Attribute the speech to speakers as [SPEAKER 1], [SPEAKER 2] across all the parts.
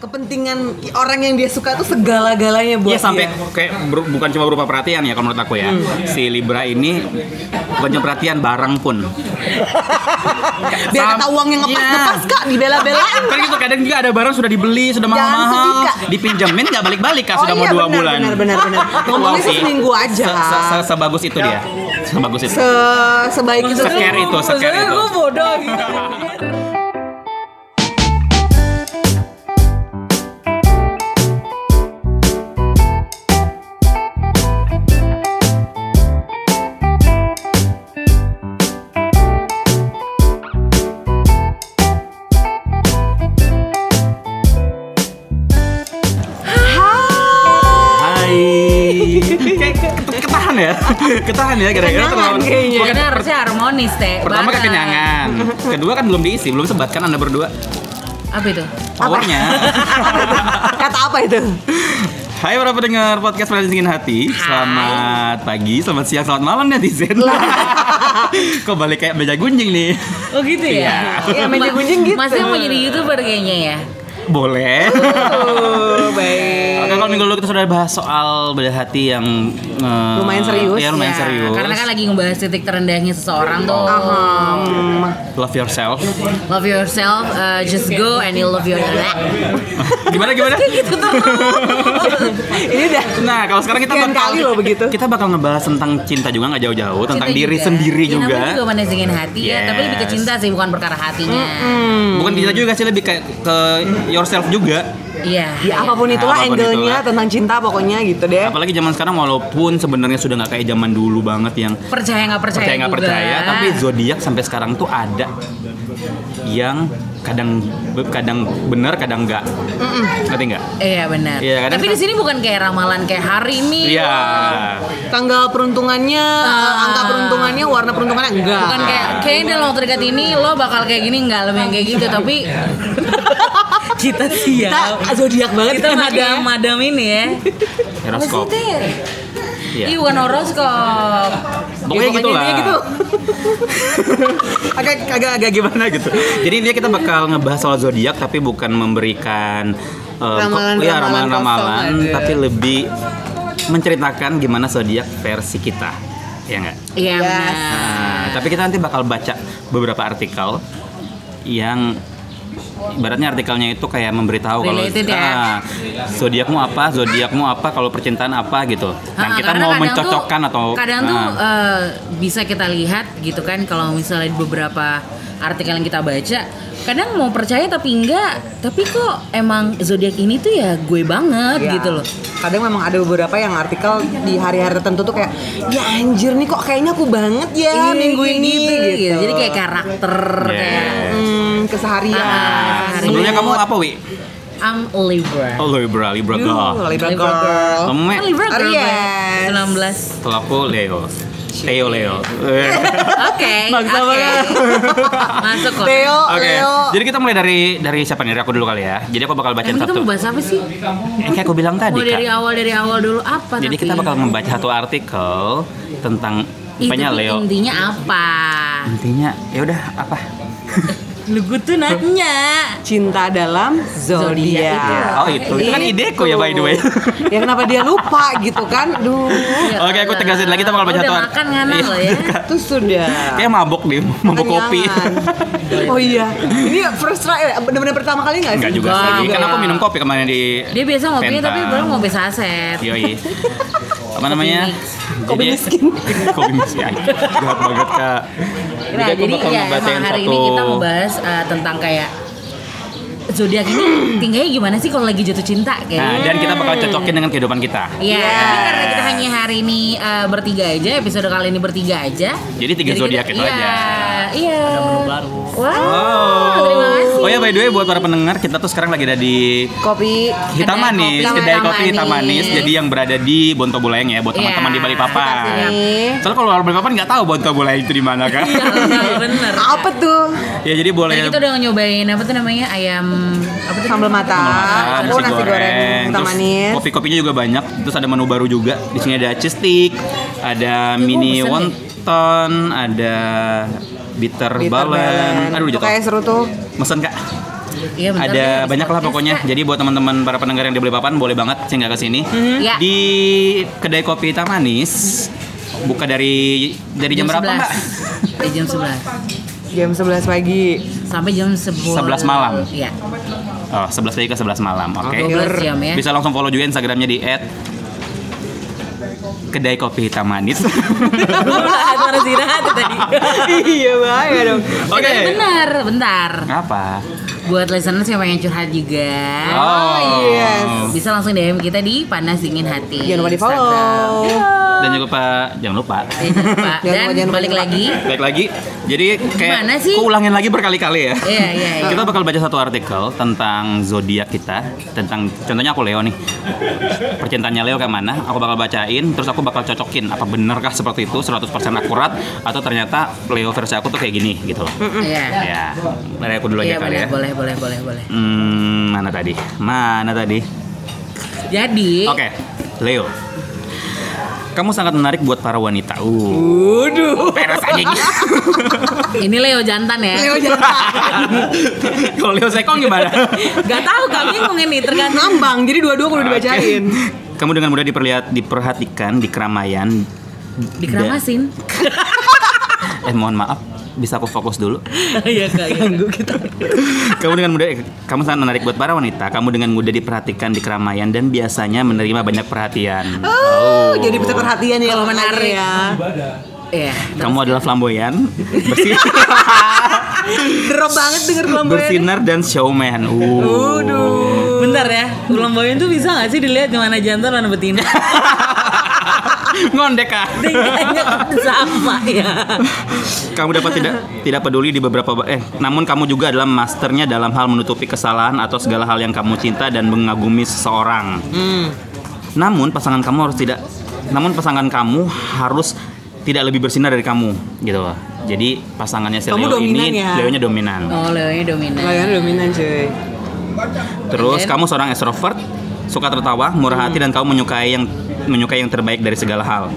[SPEAKER 1] kepentingan orang yang dia suka tuh segala-galanya buat
[SPEAKER 2] Iya sampai
[SPEAKER 1] dia.
[SPEAKER 2] kayak beru- bukan cuma berupa perhatian ya kalau menurut aku ya.
[SPEAKER 1] Hmm.
[SPEAKER 2] Si Libra ini bukan cuma perhatian barang pun.
[SPEAKER 1] biar
[SPEAKER 2] Sam-
[SPEAKER 1] kata uangnya ngepas
[SPEAKER 2] Iya.
[SPEAKER 1] ngepas kak dibela-belain
[SPEAKER 2] Kan gitu kadang juga ada barang sudah dibeli, sudah
[SPEAKER 1] Jangan sedih,
[SPEAKER 2] mahal-mahal,
[SPEAKER 1] Kak.
[SPEAKER 2] dipinjemin nggak balik-balik kak sudah mau
[SPEAKER 1] iya,
[SPEAKER 2] dua
[SPEAKER 1] benar,
[SPEAKER 2] bulan.
[SPEAKER 1] benar benar benar ngomongnya sih seminggu aja
[SPEAKER 2] Se- se- se- Sebagus itu dia. Sebagus itu.
[SPEAKER 1] se sebaik itu
[SPEAKER 2] Scare itu, scare itu.
[SPEAKER 3] gue bodoh gitu.
[SPEAKER 2] Hai. Kayak ket- Ketahan ya. Ketahan ya kira-kira
[SPEAKER 1] Kekenyangan kayaknya.
[SPEAKER 2] Bukan-
[SPEAKER 3] Karena harusnya harmonis teh.
[SPEAKER 2] Pertama
[SPEAKER 3] bareng.
[SPEAKER 2] kekenyangan, kedua kan belum diisi, belum sebat kan Anda berdua
[SPEAKER 3] Apa itu?
[SPEAKER 2] powernya.
[SPEAKER 1] kata apa itu
[SPEAKER 2] Hai para pendengar podcast Pernah Dingin Hati Selamat pagi, selamat siang, selamat malam netizen Kok balik kayak meja gunjing nih?
[SPEAKER 3] Oh gitu ya.
[SPEAKER 1] Iya, meja
[SPEAKER 3] Ma-
[SPEAKER 1] gunjing gitu.
[SPEAKER 3] Masnya mau jadi youtuber kayaknya ya.
[SPEAKER 2] Boleh
[SPEAKER 3] Uh,
[SPEAKER 1] oh, baik
[SPEAKER 2] Oke, kalau minggu lalu kita sudah bahas soal bedah hati yang eh,
[SPEAKER 1] Lumayan serius.
[SPEAKER 2] Iya, lumayan
[SPEAKER 3] Ya,
[SPEAKER 2] serius
[SPEAKER 3] Karena kan lagi ngebahas titik terendahnya seseorang tuh.
[SPEAKER 1] Ahem.
[SPEAKER 2] Love yourself
[SPEAKER 3] Love yourself, uh, just go and you love your
[SPEAKER 2] Gimana, gimana?
[SPEAKER 3] gitu tuh.
[SPEAKER 1] ini udah
[SPEAKER 2] Nah, kalau sekarang kita
[SPEAKER 1] Sekian kali loh begitu.
[SPEAKER 2] Kita bakal ngebahas tentang cinta juga nggak jauh-jauh, tentang
[SPEAKER 3] Cinta
[SPEAKER 2] diri
[SPEAKER 3] juga.
[SPEAKER 2] sendiri
[SPEAKER 3] Ya,
[SPEAKER 2] juga.
[SPEAKER 3] namanya juga manajingin hati ya, tapi lebih ke
[SPEAKER 2] Yes.
[SPEAKER 3] cinta sih bukan perkara hatinya.
[SPEAKER 2] Bukan kita juga sih lebih kayak ke yourself juga.
[SPEAKER 3] Iya.
[SPEAKER 1] ya apapun
[SPEAKER 2] Ya,
[SPEAKER 1] itulah
[SPEAKER 2] apapun
[SPEAKER 1] angle-nya
[SPEAKER 2] itulah.
[SPEAKER 1] tentang cinta pokoknya gitu deh
[SPEAKER 2] Apalagi zaman sekarang walaupun sebenarnya sudah nggak kayak zaman dulu banget yang
[SPEAKER 3] Percaya nggak percaya,
[SPEAKER 2] percaya nggak
[SPEAKER 3] juga.
[SPEAKER 2] percaya, tapi zodiak sampai sekarang tuh ada yang kadang kadang benar kadang nggak. Ngerti nggak?
[SPEAKER 3] Iya benar.
[SPEAKER 2] Iya, kadang-
[SPEAKER 3] tapi di sini bukan kayak ramalan kayak hari ini.
[SPEAKER 2] Iya.
[SPEAKER 1] tanggal peruntungannya
[SPEAKER 3] Ah.
[SPEAKER 1] angka peruntungannya warna peruntungannya enggak
[SPEAKER 3] Bukan kayak kayaknya dalam waktu dekat ini lo bakal kayak gini nggak lebih yang kayak gitu tapi kita sih
[SPEAKER 1] kita
[SPEAKER 2] Ya.
[SPEAKER 1] zodiak banget
[SPEAKER 3] kita
[SPEAKER 1] kan ada
[SPEAKER 3] madam madam ini ya.
[SPEAKER 2] Horoskop.
[SPEAKER 3] Maksudnya,
[SPEAKER 2] Iya.
[SPEAKER 3] Ih bukan horoskop.
[SPEAKER 2] Pokoknya
[SPEAKER 1] Ya,
[SPEAKER 2] gitu lah.
[SPEAKER 1] intinya gitu
[SPEAKER 2] agak agak agak gimana gitu. Jadi intinya kita bakal ngebahas soal zodiak tapi bukan memberikan eh,
[SPEAKER 1] Ramalan-ramalan
[SPEAKER 2] kok- iya, ramalan-ramalan,
[SPEAKER 1] kosong aja.
[SPEAKER 2] tapi lebih menceritakan gimana zodiak versi kita. Ya enggak?
[SPEAKER 3] Iya
[SPEAKER 1] Yes.
[SPEAKER 3] benar.
[SPEAKER 2] Nah, tapi kita nanti bakal baca beberapa artikel yang ibaratnya artikelnya itu kayak memberitahu kalau
[SPEAKER 3] Related ya.
[SPEAKER 2] ah, zodiakmu apa, zodiakmu apa, kalau percintaan apa gitu. Dan
[SPEAKER 3] Ah,
[SPEAKER 2] kita
[SPEAKER 3] karena
[SPEAKER 2] mau
[SPEAKER 3] kadang
[SPEAKER 2] mencocokkan
[SPEAKER 3] tuh-
[SPEAKER 2] atau
[SPEAKER 3] kadang tuh
[SPEAKER 2] ah.
[SPEAKER 3] eh, bisa kita lihat gitu kan kalau misalnya di beberapa artikel yang kita baca kadang mau percaya tapi enggak tapi kok emang zodiak ini tuh ya gue banget
[SPEAKER 1] Ya.
[SPEAKER 3] gitu loh
[SPEAKER 1] kadang memang ada beberapa yang artikel di hari-hari tertentu tuh kayak ya anjir nih kok kayaknya aku banget ya
[SPEAKER 3] Iya,
[SPEAKER 1] minggu
[SPEAKER 3] kayak
[SPEAKER 1] ini
[SPEAKER 3] gitu,
[SPEAKER 1] gitu,
[SPEAKER 3] gitu. jadi kayak karakter
[SPEAKER 2] Yes.
[SPEAKER 3] kayak
[SPEAKER 1] hmm, keseharian
[SPEAKER 3] Ah,
[SPEAKER 2] Nah, sebelumnya kamu apa, Wi?
[SPEAKER 3] I'm a Libra
[SPEAKER 2] Oh, Libra, Libra girl.
[SPEAKER 1] Yuh, Libra
[SPEAKER 3] Libra
[SPEAKER 1] girl.
[SPEAKER 2] Kamu
[SPEAKER 3] Kan Libra girl,
[SPEAKER 1] Aries.
[SPEAKER 3] Bay. 19
[SPEAKER 2] Kalau aku Leo. Theo Leo.
[SPEAKER 3] Oke
[SPEAKER 1] Bangsa
[SPEAKER 3] oke.
[SPEAKER 1] banget.
[SPEAKER 3] Masuk kok
[SPEAKER 1] Theo,
[SPEAKER 2] Oke.
[SPEAKER 1] Leo.
[SPEAKER 2] Jadi kita mulai dari dari siapa nih? Dari aku dulu kali ya. Jadi aku bakal bacain
[SPEAKER 3] Emang kita
[SPEAKER 2] satu.
[SPEAKER 3] mau bahas apa sih?
[SPEAKER 2] Eh, kayak aku bilang tadi,
[SPEAKER 3] Mau dari
[SPEAKER 2] Kak.
[SPEAKER 3] awal dari awal dulu apa?
[SPEAKER 2] Jadi
[SPEAKER 3] tapi?
[SPEAKER 2] kita bakal membaca satu artikel tentang
[SPEAKER 3] Ih,
[SPEAKER 2] banyak
[SPEAKER 3] tapi
[SPEAKER 2] Leo.
[SPEAKER 3] Intinya apa?
[SPEAKER 2] Intinya ya udah apa?
[SPEAKER 3] Lu gue tuh nanya.
[SPEAKER 1] cinta dalam
[SPEAKER 3] Zodiak. iya.
[SPEAKER 1] zodiak.
[SPEAKER 3] Ah,
[SPEAKER 2] Oh, itu. Itu kan ideku ya, by the way.
[SPEAKER 1] ya kenapa dia lupa gitu kan? Duh.
[SPEAKER 3] Ya
[SPEAKER 2] Oke, aku
[SPEAKER 3] Allah.
[SPEAKER 2] tegasin lagi kita bakal baca
[SPEAKER 3] Udah
[SPEAKER 2] satu.
[SPEAKER 3] makan ngana
[SPEAKER 2] Iya.
[SPEAKER 3] lo ya.
[SPEAKER 1] Itu sudah.
[SPEAKER 2] Kayak mabok nih, mabok kopi.
[SPEAKER 1] Kenyangan. Oh iya. Ini first try benar-benar pertama kali nggak sih?
[SPEAKER 2] Enggak juga
[SPEAKER 3] Enggak,
[SPEAKER 2] sih. Kan
[SPEAKER 3] enggak.
[SPEAKER 2] aku minum kopi kemarin di
[SPEAKER 3] Dia biasa ngopinya tapi
[SPEAKER 2] Pentam.
[SPEAKER 3] belum ngopi saset.
[SPEAKER 2] Yoi. Apa namanya?
[SPEAKER 3] mix.
[SPEAKER 1] Kopi
[SPEAKER 2] Jadi-
[SPEAKER 1] miskin.
[SPEAKER 2] Kopi miskin. Jahat banget kak.
[SPEAKER 3] Nah,
[SPEAKER 2] aku
[SPEAKER 3] jadi
[SPEAKER 2] bakal
[SPEAKER 3] ya
[SPEAKER 2] ngebacain
[SPEAKER 3] emang hari ini kita mau bahas eh, tentang kayak zodiak ini tinggalnya gimana sih kalau lagi jatuh cinta kayak. gitu?
[SPEAKER 2] Nah, dan kita bakal cocokin dengan kehidupan kita.
[SPEAKER 3] Hmm. Iya, tapi karena kita hanya hari ini eh, bertiga aja, episode kali ini bertiga aja.
[SPEAKER 2] Jadi tiga
[SPEAKER 3] kita-
[SPEAKER 2] zodiak itu
[SPEAKER 3] iya,
[SPEAKER 2] aja.
[SPEAKER 3] Iya.
[SPEAKER 4] baru.
[SPEAKER 3] Wow,
[SPEAKER 2] Oh.
[SPEAKER 3] terima kasih.
[SPEAKER 2] Oh ya by the way buat para pendengar kita tuh sekarang lagi ada di
[SPEAKER 1] Kopi
[SPEAKER 2] Hitamanis,
[SPEAKER 3] kopi
[SPEAKER 2] kedai
[SPEAKER 3] Hitamanis.
[SPEAKER 2] kopi Hitamanis. Jadi yang berada di Bontobulayang ya buat
[SPEAKER 3] Iya.
[SPEAKER 2] teman-teman di Balikpapan.
[SPEAKER 1] Sekitar sini.
[SPEAKER 2] Soalnya kalau orang Balikpapan nggak tahu Bontobulayang itu di mana kan.
[SPEAKER 3] Iya, Nah, gitu bener.
[SPEAKER 1] apa tuh?
[SPEAKER 2] ya jadi
[SPEAKER 3] Tadi
[SPEAKER 2] boleh
[SPEAKER 3] kita udah nyobain apa tuh namanya ayam apa tuh
[SPEAKER 1] Sambal mata.
[SPEAKER 2] Ah,
[SPEAKER 1] Oh, nasi goreng,
[SPEAKER 2] terus
[SPEAKER 1] Hitamanis.
[SPEAKER 2] Kopi-kopinya juga banyak. Terus ada menu baru juga. Di sini ada cheese stick, ada mini
[SPEAKER 3] gua pesen
[SPEAKER 2] wonton, ada bitter,
[SPEAKER 1] Bitter
[SPEAKER 2] balen.
[SPEAKER 1] Balen.
[SPEAKER 2] Aduh,
[SPEAKER 1] Tuh
[SPEAKER 2] jatuh.
[SPEAKER 1] kayak seru tuh.
[SPEAKER 2] Mesen kak.
[SPEAKER 3] Iya, bentar Iya, deh,
[SPEAKER 2] ada
[SPEAKER 3] habis
[SPEAKER 2] banyak lah
[SPEAKER 3] podcast,
[SPEAKER 2] pokoknya.
[SPEAKER 3] Kak.
[SPEAKER 2] Jadi buat teman-teman para pendengar yang di Balikpapan boleh banget singgah ke sini.
[SPEAKER 3] Ya.
[SPEAKER 2] Di kedai kopi Tamanis buka dari dari jam, berapa, Mbak?
[SPEAKER 3] 11. Dari Iya, jam 11
[SPEAKER 1] Jam 11 pagi.
[SPEAKER 3] sampai jam 10.
[SPEAKER 2] 11 malam.
[SPEAKER 3] Iya.
[SPEAKER 2] Oh, 11 pagi ke 11 malam. Oke.
[SPEAKER 3] 12 jam ya.
[SPEAKER 2] Bisa langsung follow juga Instagramnya di kedai kopi hitam manis.
[SPEAKER 3] Suara zina tuh tadi.
[SPEAKER 1] iya bahaya dong.
[SPEAKER 2] Oke.
[SPEAKER 3] Eh, Benar, bentar.
[SPEAKER 2] Apa?
[SPEAKER 3] Buat listeners yang pengen curhat juga.
[SPEAKER 1] Oh, yes.
[SPEAKER 3] Bisa langsung DM kita di Panas Dingin Hati.
[SPEAKER 1] Jangan lupa di
[SPEAKER 3] Instagram.
[SPEAKER 1] follow.
[SPEAKER 2] Dan juga Pak, jangan lupa.
[SPEAKER 3] Eh, jangan lupa.
[SPEAKER 1] Jangan
[SPEAKER 3] Dan
[SPEAKER 1] lupa, jangan lupa,
[SPEAKER 3] balik
[SPEAKER 1] jangan
[SPEAKER 3] lagi.
[SPEAKER 2] Baik lagi. Jadi kayak
[SPEAKER 3] Gimana sih?
[SPEAKER 2] Ku ulangin lagi berkali-kali ya.
[SPEAKER 3] Iya, iya, iya.
[SPEAKER 2] Kita bakal baca satu artikel tentang zodiak kita, tentang contohnya aku Leo nih. Percintaannya Leo kayak mana? Aku bakal bacain, terus aku bakal cocokin apa benarkah seperti itu 100% akurat atau ternyata Leo versi aku tuh kayak gini gitu loh.
[SPEAKER 3] Iya.
[SPEAKER 2] Ya, dari aku dulu
[SPEAKER 3] Iya,
[SPEAKER 2] aja kali
[SPEAKER 3] boleh,
[SPEAKER 2] ya.
[SPEAKER 3] boleh, boleh, boleh, boleh.
[SPEAKER 2] Hmm, mana tadi? Mana tadi?
[SPEAKER 3] Jadi,
[SPEAKER 2] Oke, Leo. Kamu sangat menarik buat para wanita. Uh,
[SPEAKER 1] Waduh.
[SPEAKER 2] peres anjing.
[SPEAKER 3] ini Leo jantan ya.
[SPEAKER 1] Leo oh, jangan
[SPEAKER 2] Kalau Leo Sekong gimana?
[SPEAKER 3] Gak tahu kami ngomongin nih tergantung.
[SPEAKER 1] ngambang. Jadi dua-dua kudu
[SPEAKER 2] Oke.
[SPEAKER 1] dibacain.
[SPEAKER 2] Kamu dengan mudah diperlihat diperhatikan di keramaian.
[SPEAKER 3] Dikeramasin.
[SPEAKER 2] Eh mohon maaf, bisa aku fokus dulu.
[SPEAKER 3] Iya, Kak. iya.
[SPEAKER 2] Kamu dengan mudah eh, kamu sangat menarik buat para wanita. Kamu dengan mudah diperhatikan di keramaian dan biasanya menerima banyak perhatian.
[SPEAKER 1] Oh, jadi bisa perhatian ya
[SPEAKER 3] Kalau
[SPEAKER 1] makanya
[SPEAKER 3] menarik.
[SPEAKER 1] ya.
[SPEAKER 3] Iya.
[SPEAKER 2] Kamu adalah flamboyan, bersi-
[SPEAKER 1] Drop banget denger lambe.
[SPEAKER 2] bersinar dan showman. Uh.
[SPEAKER 1] Waduh.
[SPEAKER 3] Bentar ya, ulang bawain tuh bisa gak sih dilihat mana jantan mana betina?
[SPEAKER 2] Ngondek ah.
[SPEAKER 3] Tingkahnya sama ya.
[SPEAKER 2] Kamu dapat tidak tidak peduli di beberapa eh namun kamu juga adalah masternya dalam hal menutupi kesalahan atau segala hal yang kamu cinta dan mengagumi seseorang.
[SPEAKER 1] Hmm,
[SPEAKER 2] Namun pasangan kamu harus tidak namun pasangan kamu harus tidak lebih bersinar dari kamu gitu loh. Jadi pasangannya si
[SPEAKER 1] Kamu
[SPEAKER 2] Leo
[SPEAKER 1] dominan
[SPEAKER 2] ini
[SPEAKER 1] ya?
[SPEAKER 2] Leonya dominan.
[SPEAKER 3] Oh, Leonya dominan.
[SPEAKER 1] Layan dominan cuy.
[SPEAKER 2] Terus
[SPEAKER 3] And then-
[SPEAKER 2] kamu seorang extrovert, suka tertawa, murah hati dan kamu menyukai yang menyukai yang terbaik dari segala hal.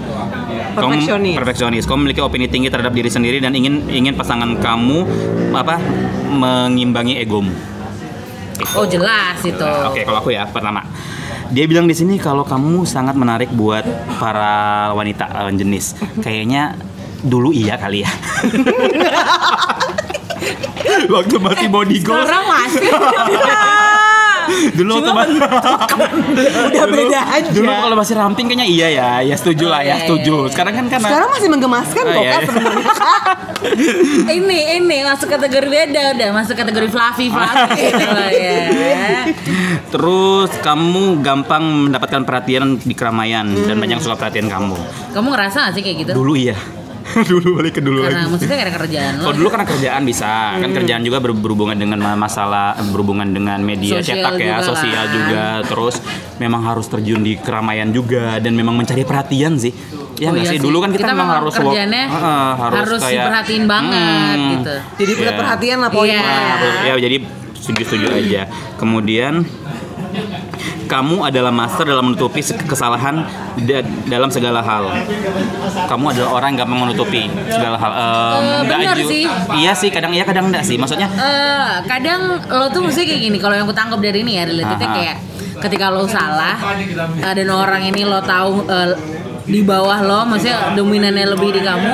[SPEAKER 2] Kamu-
[SPEAKER 1] Perfeksionis.
[SPEAKER 2] perfeksionis. Kamu memiliki opini tinggi terhadap diri sendiri dan ingin ingin pasangan kamu apa mengimbangi egomu.
[SPEAKER 3] Oh, jelas itu.
[SPEAKER 2] Oke, kalau aku ya pertama. Dia bilang di sini kalau kamu sangat menarik buat para wanita lawan jenis. Kayaknya dulu iya kali ya. Waktu mati body goals
[SPEAKER 3] Sekarang masih.
[SPEAKER 2] dulu waktu ma-
[SPEAKER 1] Udah
[SPEAKER 2] Dulu-
[SPEAKER 1] beda aja.
[SPEAKER 2] Dulu kalau masih ramping kayaknya iya ya, ya setuju lah ya,
[SPEAKER 3] Oke.
[SPEAKER 2] setuju. Sekarang kan karena
[SPEAKER 1] Sekarang masih menggemaskan
[SPEAKER 2] Oh,
[SPEAKER 1] kok
[SPEAKER 2] iya,
[SPEAKER 1] Kak
[SPEAKER 2] iya.
[SPEAKER 1] sebenarnya.
[SPEAKER 3] ini ini masuk kategori beda udah masuk kategori fluffy fluffy gitu lah ya.
[SPEAKER 2] terus kamu gampang mendapatkan perhatian di keramaian dan banyak yang suka perhatian kamu.
[SPEAKER 3] Kamu ngerasa gak sih kayak gitu?
[SPEAKER 2] Dulu iya. dulu balik ke dulu
[SPEAKER 3] Karena
[SPEAKER 2] lagi.
[SPEAKER 3] maksudnya karena kerjaan lo.
[SPEAKER 2] Kalau dulu karena kerjaan bisa,
[SPEAKER 3] Hmm.
[SPEAKER 2] kan kerjaan juga ber- berhubungan dengan ma- masalah eh, berhubungan dengan media
[SPEAKER 3] Sosial
[SPEAKER 2] cetak ya,
[SPEAKER 3] juga lah.
[SPEAKER 2] sosial juga. Terus memang harus terjun di keramaian juga dan memang mencari perhatian sih. Ya
[SPEAKER 3] Oh
[SPEAKER 2] nggak
[SPEAKER 3] iya
[SPEAKER 2] sih
[SPEAKER 3] sih.
[SPEAKER 2] dulu kan kita,
[SPEAKER 3] Kita
[SPEAKER 2] memang
[SPEAKER 3] memang
[SPEAKER 2] harus
[SPEAKER 3] kerjaannya
[SPEAKER 2] Heeh,
[SPEAKER 3] harus diperhatiin banget gitu.
[SPEAKER 1] Jadi
[SPEAKER 2] Iya.
[SPEAKER 1] pusat perhatian lah poinnya.
[SPEAKER 3] Iya.
[SPEAKER 2] Ya jadi setuju-setuju aja. Kemudian kamu adalah master dalam menutupi se- kesalahan da- dalam segala hal. Kamu adalah orang yang gampang menutupi segala hal. Ehm,
[SPEAKER 3] Eh,
[SPEAKER 2] nggak
[SPEAKER 3] benar
[SPEAKER 2] ju-
[SPEAKER 3] sih.
[SPEAKER 2] Iya sih, kadang iya kadang enggak sih. Maksudnya
[SPEAKER 3] Eh, kadang lo tuh mesti kayak gini kalau yang aku tangkap dari ini ya relatifnya
[SPEAKER 2] Aha.
[SPEAKER 3] kayak ketika lo salah eh, dan orang ini lo tahu eh, di bawah lo maksudnya dominannya lebih di kamu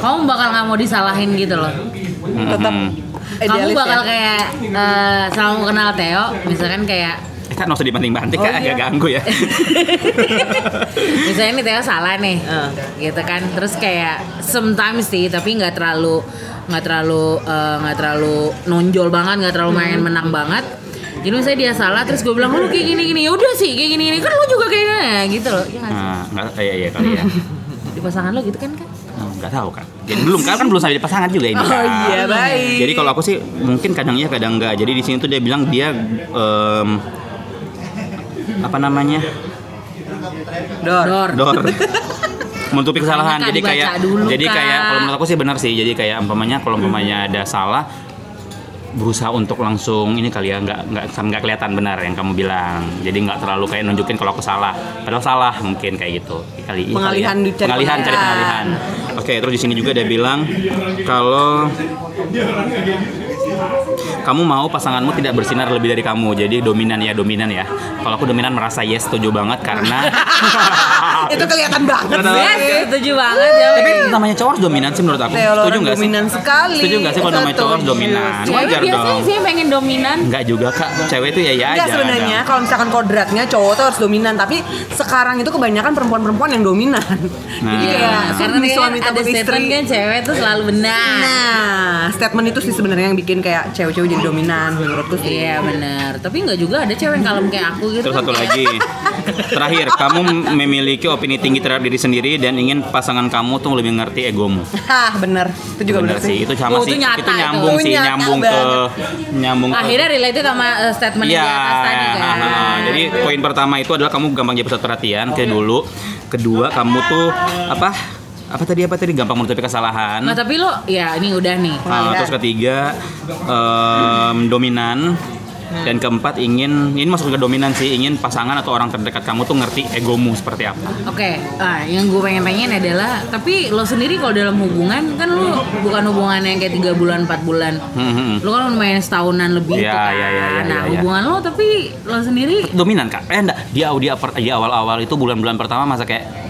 [SPEAKER 3] kamu bakal nggak mau disalahin gitu loh
[SPEAKER 1] Tetap
[SPEAKER 3] kamu
[SPEAKER 1] idealis
[SPEAKER 3] bakal
[SPEAKER 1] ya.
[SPEAKER 3] kayak eh, selalu kenal Theo misalkan kayak
[SPEAKER 2] eh, kan nggak usah dibanting-banting
[SPEAKER 3] Oh,
[SPEAKER 2] kan
[SPEAKER 3] iya.
[SPEAKER 2] agak ganggu ya.
[SPEAKER 3] misalnya ini Theo salah nih
[SPEAKER 1] Eh.
[SPEAKER 3] gitu kan terus kayak sometimes sih tapi nggak terlalu nggak terlalu eh, nggak terlalu nonjol banget nggak terlalu main menang banget jadi misalnya dia salah terus gue bilang lu kayak gini gini udah sih kayak gini gini kan lu juga kayak gini gitu loh ya, nggak sih?
[SPEAKER 2] Nah, nggak iya iya kali ya.
[SPEAKER 3] di pasangan lo gitu kan kan
[SPEAKER 2] Hmm, nggak tahu kan. Jadi belum kan kan belum sampai di pasangan juga ini.
[SPEAKER 1] Oh
[SPEAKER 2] kan.
[SPEAKER 1] iya, baik.
[SPEAKER 2] Jadi kalau aku sih mungkin kadang iya kadang enggak. Jadi di sini tuh dia bilang dia em, apa namanya?
[SPEAKER 1] ya. Dor.
[SPEAKER 3] dor
[SPEAKER 2] Dor. menutupi kesalahan.
[SPEAKER 3] Makanya
[SPEAKER 2] Jadi
[SPEAKER 3] dibaca
[SPEAKER 2] kayak
[SPEAKER 3] dulu,
[SPEAKER 2] jadi
[SPEAKER 3] Kak.
[SPEAKER 2] kayak kalau menurut aku sih benar sih. Jadi kayak umpamanya kalau umpamanya ada salah berusaha untuk langsung ini kali ya nggak nggak nggak kelihatan benar yang kamu bilang jadi nggak terlalu kayak nunjukin kalau aku salah padahal salah mungkin kayak gitu kali ini kali ya.
[SPEAKER 1] Pengalihan, cari
[SPEAKER 2] pengalihan cari
[SPEAKER 1] pengalihan.
[SPEAKER 2] pengalihan oke terus di sini juga dia bilang kalau kamu mau pasanganmu tidak bersinar lebih dari kamu jadi dominan ya dominan ya kalau aku dominan merasa yes setuju banget karena Ah.
[SPEAKER 1] itu kelihatan banget
[SPEAKER 3] Oh,
[SPEAKER 2] Betul.
[SPEAKER 1] sih.
[SPEAKER 3] Yes, Iya, setuju banget ya.
[SPEAKER 2] tapi namanya cowok harus dominan sih menurut aku
[SPEAKER 1] Teolor
[SPEAKER 2] setuju nggak sih
[SPEAKER 1] dominan sekali.
[SPEAKER 2] setuju nggak sih kalau namanya cowok harus
[SPEAKER 1] Setuju.
[SPEAKER 2] dominan
[SPEAKER 3] Cewek
[SPEAKER 2] wajar
[SPEAKER 3] Iya, biasanya
[SPEAKER 2] dong
[SPEAKER 3] sih pengen dominan.
[SPEAKER 2] nggak juga kak cewek itu ya ya aja
[SPEAKER 1] Enggak sebenarnya kalau misalkan kodratnya cowok tuh harus dominan tapi sekarang itu kebanyakan perempuan-perempuan yang dominan. Jadi
[SPEAKER 2] Nah.
[SPEAKER 1] kayak
[SPEAKER 3] Karena
[SPEAKER 1] suami
[SPEAKER 3] dia
[SPEAKER 1] suami
[SPEAKER 3] ada
[SPEAKER 1] takut
[SPEAKER 3] statement
[SPEAKER 1] istri.
[SPEAKER 3] kan cewek tuh selalu benar.
[SPEAKER 1] Nah, statement itu sih sebenarnya yang bikin kayak cewek-cewek jadi dominan menurutku sih.
[SPEAKER 3] Iya benar. Tapi nggak juga ada cewek yang kalem kayak aku gitu.
[SPEAKER 2] Terus
[SPEAKER 3] kan
[SPEAKER 2] satu
[SPEAKER 3] kayak-
[SPEAKER 2] lagi. Terakhir, kamu memiliki opini tinggi terhadap diri sendiri dan ingin pasangan kamu tuh lebih ngerti egomu.
[SPEAKER 1] Hah, bener. Itu juga bener,
[SPEAKER 2] Benar sih, itu sama
[SPEAKER 3] Oh,
[SPEAKER 2] sih.
[SPEAKER 3] itu nyata
[SPEAKER 2] Itu
[SPEAKER 3] itu.
[SPEAKER 2] nyambung sih,
[SPEAKER 1] Itu nyata
[SPEAKER 2] nyambung ke nyambung ke
[SPEAKER 3] Nah, Akhirnya related sama eh, statement
[SPEAKER 2] Iya.
[SPEAKER 3] yang di atas tadi kan.
[SPEAKER 2] ha, ha. Jadi poin pertama itu adalah kamu gampang jadi pusat perhatian kayak dulu. Kedua, kamu tuh apa? Apa tadi apa tadi gampang menutupi kesalahan.
[SPEAKER 3] Nah tapi lo, ya ini udah nih.
[SPEAKER 2] Ah, terus ketiga em, dominan dan keempat ingin ini masuk ke dominan sih ingin pasangan atau orang terdekat kamu tuh ngerti egomu seperti apa.
[SPEAKER 3] Oke, ah, yang gue pengen pengen adalah, tapi lo sendiri kalau dalam hubungan kan lo bukan hubungan yang kayak tiga bulan empat bulan,
[SPEAKER 2] Hmm, hmm, hmm.
[SPEAKER 3] lo kan lumayan setahunan lebih
[SPEAKER 2] Iya,
[SPEAKER 3] itu kan.
[SPEAKER 2] iya, iya, iya,
[SPEAKER 3] nah
[SPEAKER 2] iya, iya.
[SPEAKER 3] hubungan lo tapi lo sendiri
[SPEAKER 2] dominan kak eh enggak dia dia per- dia awal-awal itu bulan-bulan pertama masa kayak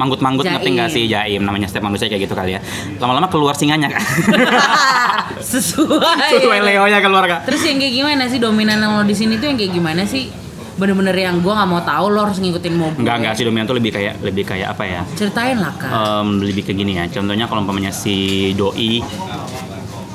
[SPEAKER 2] manggut-manggut
[SPEAKER 3] Jaim.
[SPEAKER 2] ngerti nggak sih jaim namanya setiap manusia kayak gitu kali ya lama-lama keluar singanya kak
[SPEAKER 3] ah, sesuai.
[SPEAKER 2] sesuai Leo nya keluar kak
[SPEAKER 3] Terus yang kayak gimana sih dominan lo di sini tuh yang kayak gimana sih? Bener-bener yang gue nggak mau tahu lo harus ngikutin mau gue.
[SPEAKER 2] nggak nggak sih dominan tuh lebih kayak lebih kayak apa ya
[SPEAKER 3] Ceritain lah kak.
[SPEAKER 2] Em, lebih ke gini ya contohnya kalau umpamanya si doi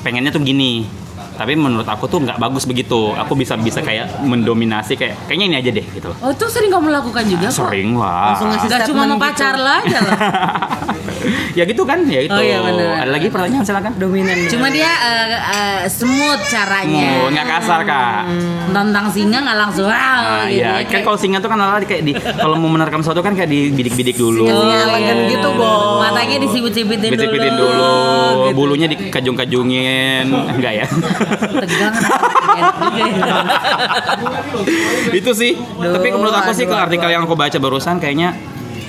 [SPEAKER 2] pengennya tuh gini tapi menurut aku tuh nggak bagus begitu aku bisa bisa kayak mendominasi kayak kayaknya ini aja deh gitu loh
[SPEAKER 3] Oh itu sering kamu lakukan juga kok?
[SPEAKER 2] sering lah
[SPEAKER 1] Langsung ngasih
[SPEAKER 3] Gak cuma
[SPEAKER 1] Statement
[SPEAKER 3] mau
[SPEAKER 1] gitu.
[SPEAKER 3] pacar lah aja lah.
[SPEAKER 2] ya gitu kan ya itu
[SPEAKER 3] Oh, iya, bener.
[SPEAKER 2] ada lagi pertanyaan silakan
[SPEAKER 1] Dominan. ya.
[SPEAKER 3] Cuma dia eh, eh, smooth caranya.
[SPEAKER 2] Oh, nggak kasar kak
[SPEAKER 3] Hmm. Tentang singa nggak langsung wow
[SPEAKER 2] Ah,
[SPEAKER 3] gitu.
[SPEAKER 2] iya, kan kalau singa tuh kan ala kayak di kalau mau menerkam sesuatu kan kayak dibidik-bidik dulu.
[SPEAKER 1] Singa-singa elegan gitu, Bo.
[SPEAKER 3] Matanya disibit-sibitin dulu.
[SPEAKER 2] Bidik-bidikin Oh. dulu,
[SPEAKER 3] gitu.
[SPEAKER 2] bulunya dikajung-kajungin. Enggak ya.
[SPEAKER 3] Tegang. enak juga ya.
[SPEAKER 2] Itu sih. Tapi menurut aku sih kalau artikel yang aku baca barusan kayaknya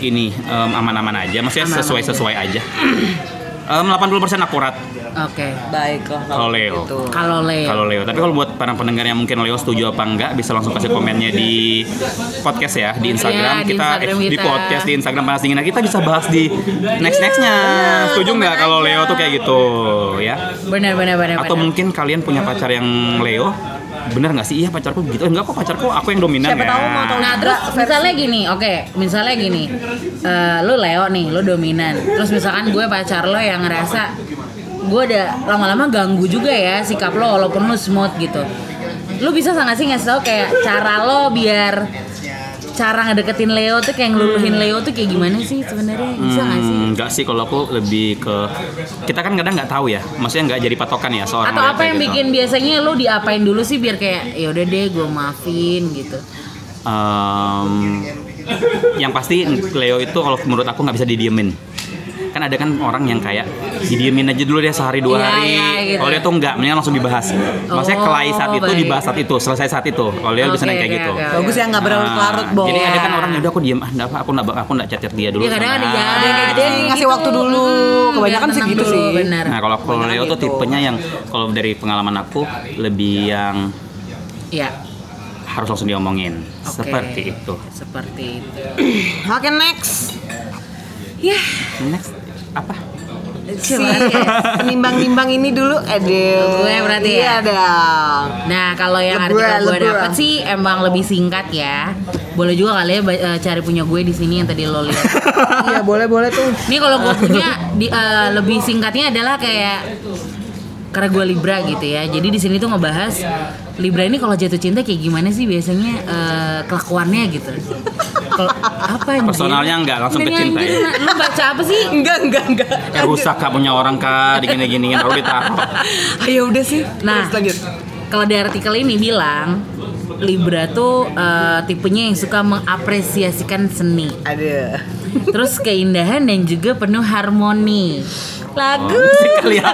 [SPEAKER 2] ini em, aman-aman aja, maksudnya
[SPEAKER 3] Aman-aman
[SPEAKER 2] sesuai-sesuai aja. Em, 80% akurat
[SPEAKER 3] Oke.
[SPEAKER 1] Baiklah
[SPEAKER 2] kalau Leo.
[SPEAKER 1] gitu.
[SPEAKER 3] Kalau Leo.
[SPEAKER 2] Kalau Leo, tapi kalau buat para pendengar yang mungkin Leo setuju apa enggak bisa langsung kasih komennya di podcast ya di Instagram,
[SPEAKER 3] Iya, di
[SPEAKER 2] kita,
[SPEAKER 3] Instagram
[SPEAKER 2] eh, di
[SPEAKER 3] kita.
[SPEAKER 2] podcast di Instagram panas dingin Nah, kita bisa bahas di next nextnya. setuju
[SPEAKER 3] komen
[SPEAKER 2] nggak kalau
[SPEAKER 3] aja.
[SPEAKER 2] Leo tuh kayak gitu ya?
[SPEAKER 3] Benar benar benar.
[SPEAKER 2] Atau
[SPEAKER 3] benar.
[SPEAKER 2] mungkin kalian punya pacar yang Leo? Bener nggak sih? Iya pacarku begitu. Eh, Enggak kok pacarku aku yang dominan
[SPEAKER 1] Siapa
[SPEAKER 2] ya.
[SPEAKER 1] tahu mau tahu.
[SPEAKER 3] Nah terus misalnya
[SPEAKER 1] gitu.
[SPEAKER 3] gini, oke, misalnya gini, eh, lu Leo nih, lu dominan. Terus misalkan gue pacar lo yang ngerasa gue udah lama-lama ganggu juga ya sikap lo walaupun lu smooth gitu. Lu bisa nggak sih ngasih tau kayak cara lo biar cara ngedeketin Leo tuh kayak ngeluluhin Leo tuh kayak gimana sih sebenarnya bisa nggak sih?
[SPEAKER 2] Hmm, enggak sih kalau aku lebih ke kita kan kadang nggak tahu ya, maksudnya nggak jadi patokan ya seorang
[SPEAKER 3] Atau
[SPEAKER 2] Leo
[SPEAKER 3] apa
[SPEAKER 2] kayak
[SPEAKER 3] yang
[SPEAKER 2] gitu.
[SPEAKER 3] bikin biasanya lu diapain dulu sih biar kayak ya udah deh gue maafin gitu.
[SPEAKER 2] Em, yang pasti Leo itu kalau menurut aku nggak bisa didiemin kan ada kan orang yang kayak didiemin aja dulu dia sehari dua
[SPEAKER 3] Iya,
[SPEAKER 2] hari
[SPEAKER 3] iya, gitu.
[SPEAKER 2] kalau dia tuh nggak mendingan langsung dibahas maksudnya
[SPEAKER 3] Oh,
[SPEAKER 2] kelai saat itu
[SPEAKER 3] baik.
[SPEAKER 2] dibahas saat itu selesai saat itu kalau dia
[SPEAKER 3] Oke,
[SPEAKER 2] bisa kayak
[SPEAKER 3] oke,
[SPEAKER 2] gitu
[SPEAKER 3] oke, oke.
[SPEAKER 1] Bagus ya nggak berlarut-larut,
[SPEAKER 2] Nah,
[SPEAKER 1] Bo.
[SPEAKER 2] jadi ada kan
[SPEAKER 3] Iya.
[SPEAKER 2] orang udah aku diem ah nggak apa aku nggak aku nggak catat dia dulu
[SPEAKER 3] Iya kadang ada ya,
[SPEAKER 2] Nah,
[SPEAKER 1] Ada yang kayak gitu. ngasih waktu dulu. Kebanyakan sih gitu sih.
[SPEAKER 3] Benar.
[SPEAKER 2] nah kalau kalau
[SPEAKER 1] Kebanyakan
[SPEAKER 2] Leo tuh
[SPEAKER 1] gitu.
[SPEAKER 2] tipenya yang kalau dari pengalaman aku lebih yang
[SPEAKER 3] Iya.
[SPEAKER 2] harus langsung diomongin
[SPEAKER 3] oke.
[SPEAKER 2] seperti itu
[SPEAKER 3] Seperti itu.
[SPEAKER 1] Oke, next.
[SPEAKER 3] Ya.
[SPEAKER 2] next apa
[SPEAKER 1] Si penimbang-nimbang ini dulu ada.
[SPEAKER 3] Gue berarti ya?
[SPEAKER 1] Iya dong.
[SPEAKER 3] Nah, kalau yang
[SPEAKER 1] Lebra,
[SPEAKER 3] artikel gue
[SPEAKER 1] lebra.
[SPEAKER 3] dapet sih emang lebih singkat ya. Boleh juga kali ya ba- eh, cari punya gue di sini yang tadi lo lihat.
[SPEAKER 1] Iya, boleh-boleh tuh.
[SPEAKER 3] Ini kalau gue punya di, eh, lebih singkatnya adalah kayak karena gue Libra gitu ya. Jadi di sini tuh ngebahas Libra ini kalau jatuh cinta kayak gimana sih biasanya eh, kelakuannya gitu. Kalau apa anjir?
[SPEAKER 2] Personalnya nggak, langsung ke
[SPEAKER 3] Dari
[SPEAKER 2] cinta
[SPEAKER 3] anjir,
[SPEAKER 2] ya?
[SPEAKER 3] Lu baca apa sih?
[SPEAKER 1] Enggak, enggak, enggak.
[SPEAKER 2] Kayak rusak kak punya orang kak digini-giniin baru ditaruh
[SPEAKER 1] Ayo Oh, ya udah sih. Terus
[SPEAKER 3] Nah.
[SPEAKER 1] lanjut.
[SPEAKER 3] Kalau di artikel ini bilang Libra tuh eh, tipenya yang suka mengapresiasikan seni,
[SPEAKER 1] Ada.
[SPEAKER 3] terus keindahan dan juga penuh harmoni. Lagu.
[SPEAKER 2] Musik kali ya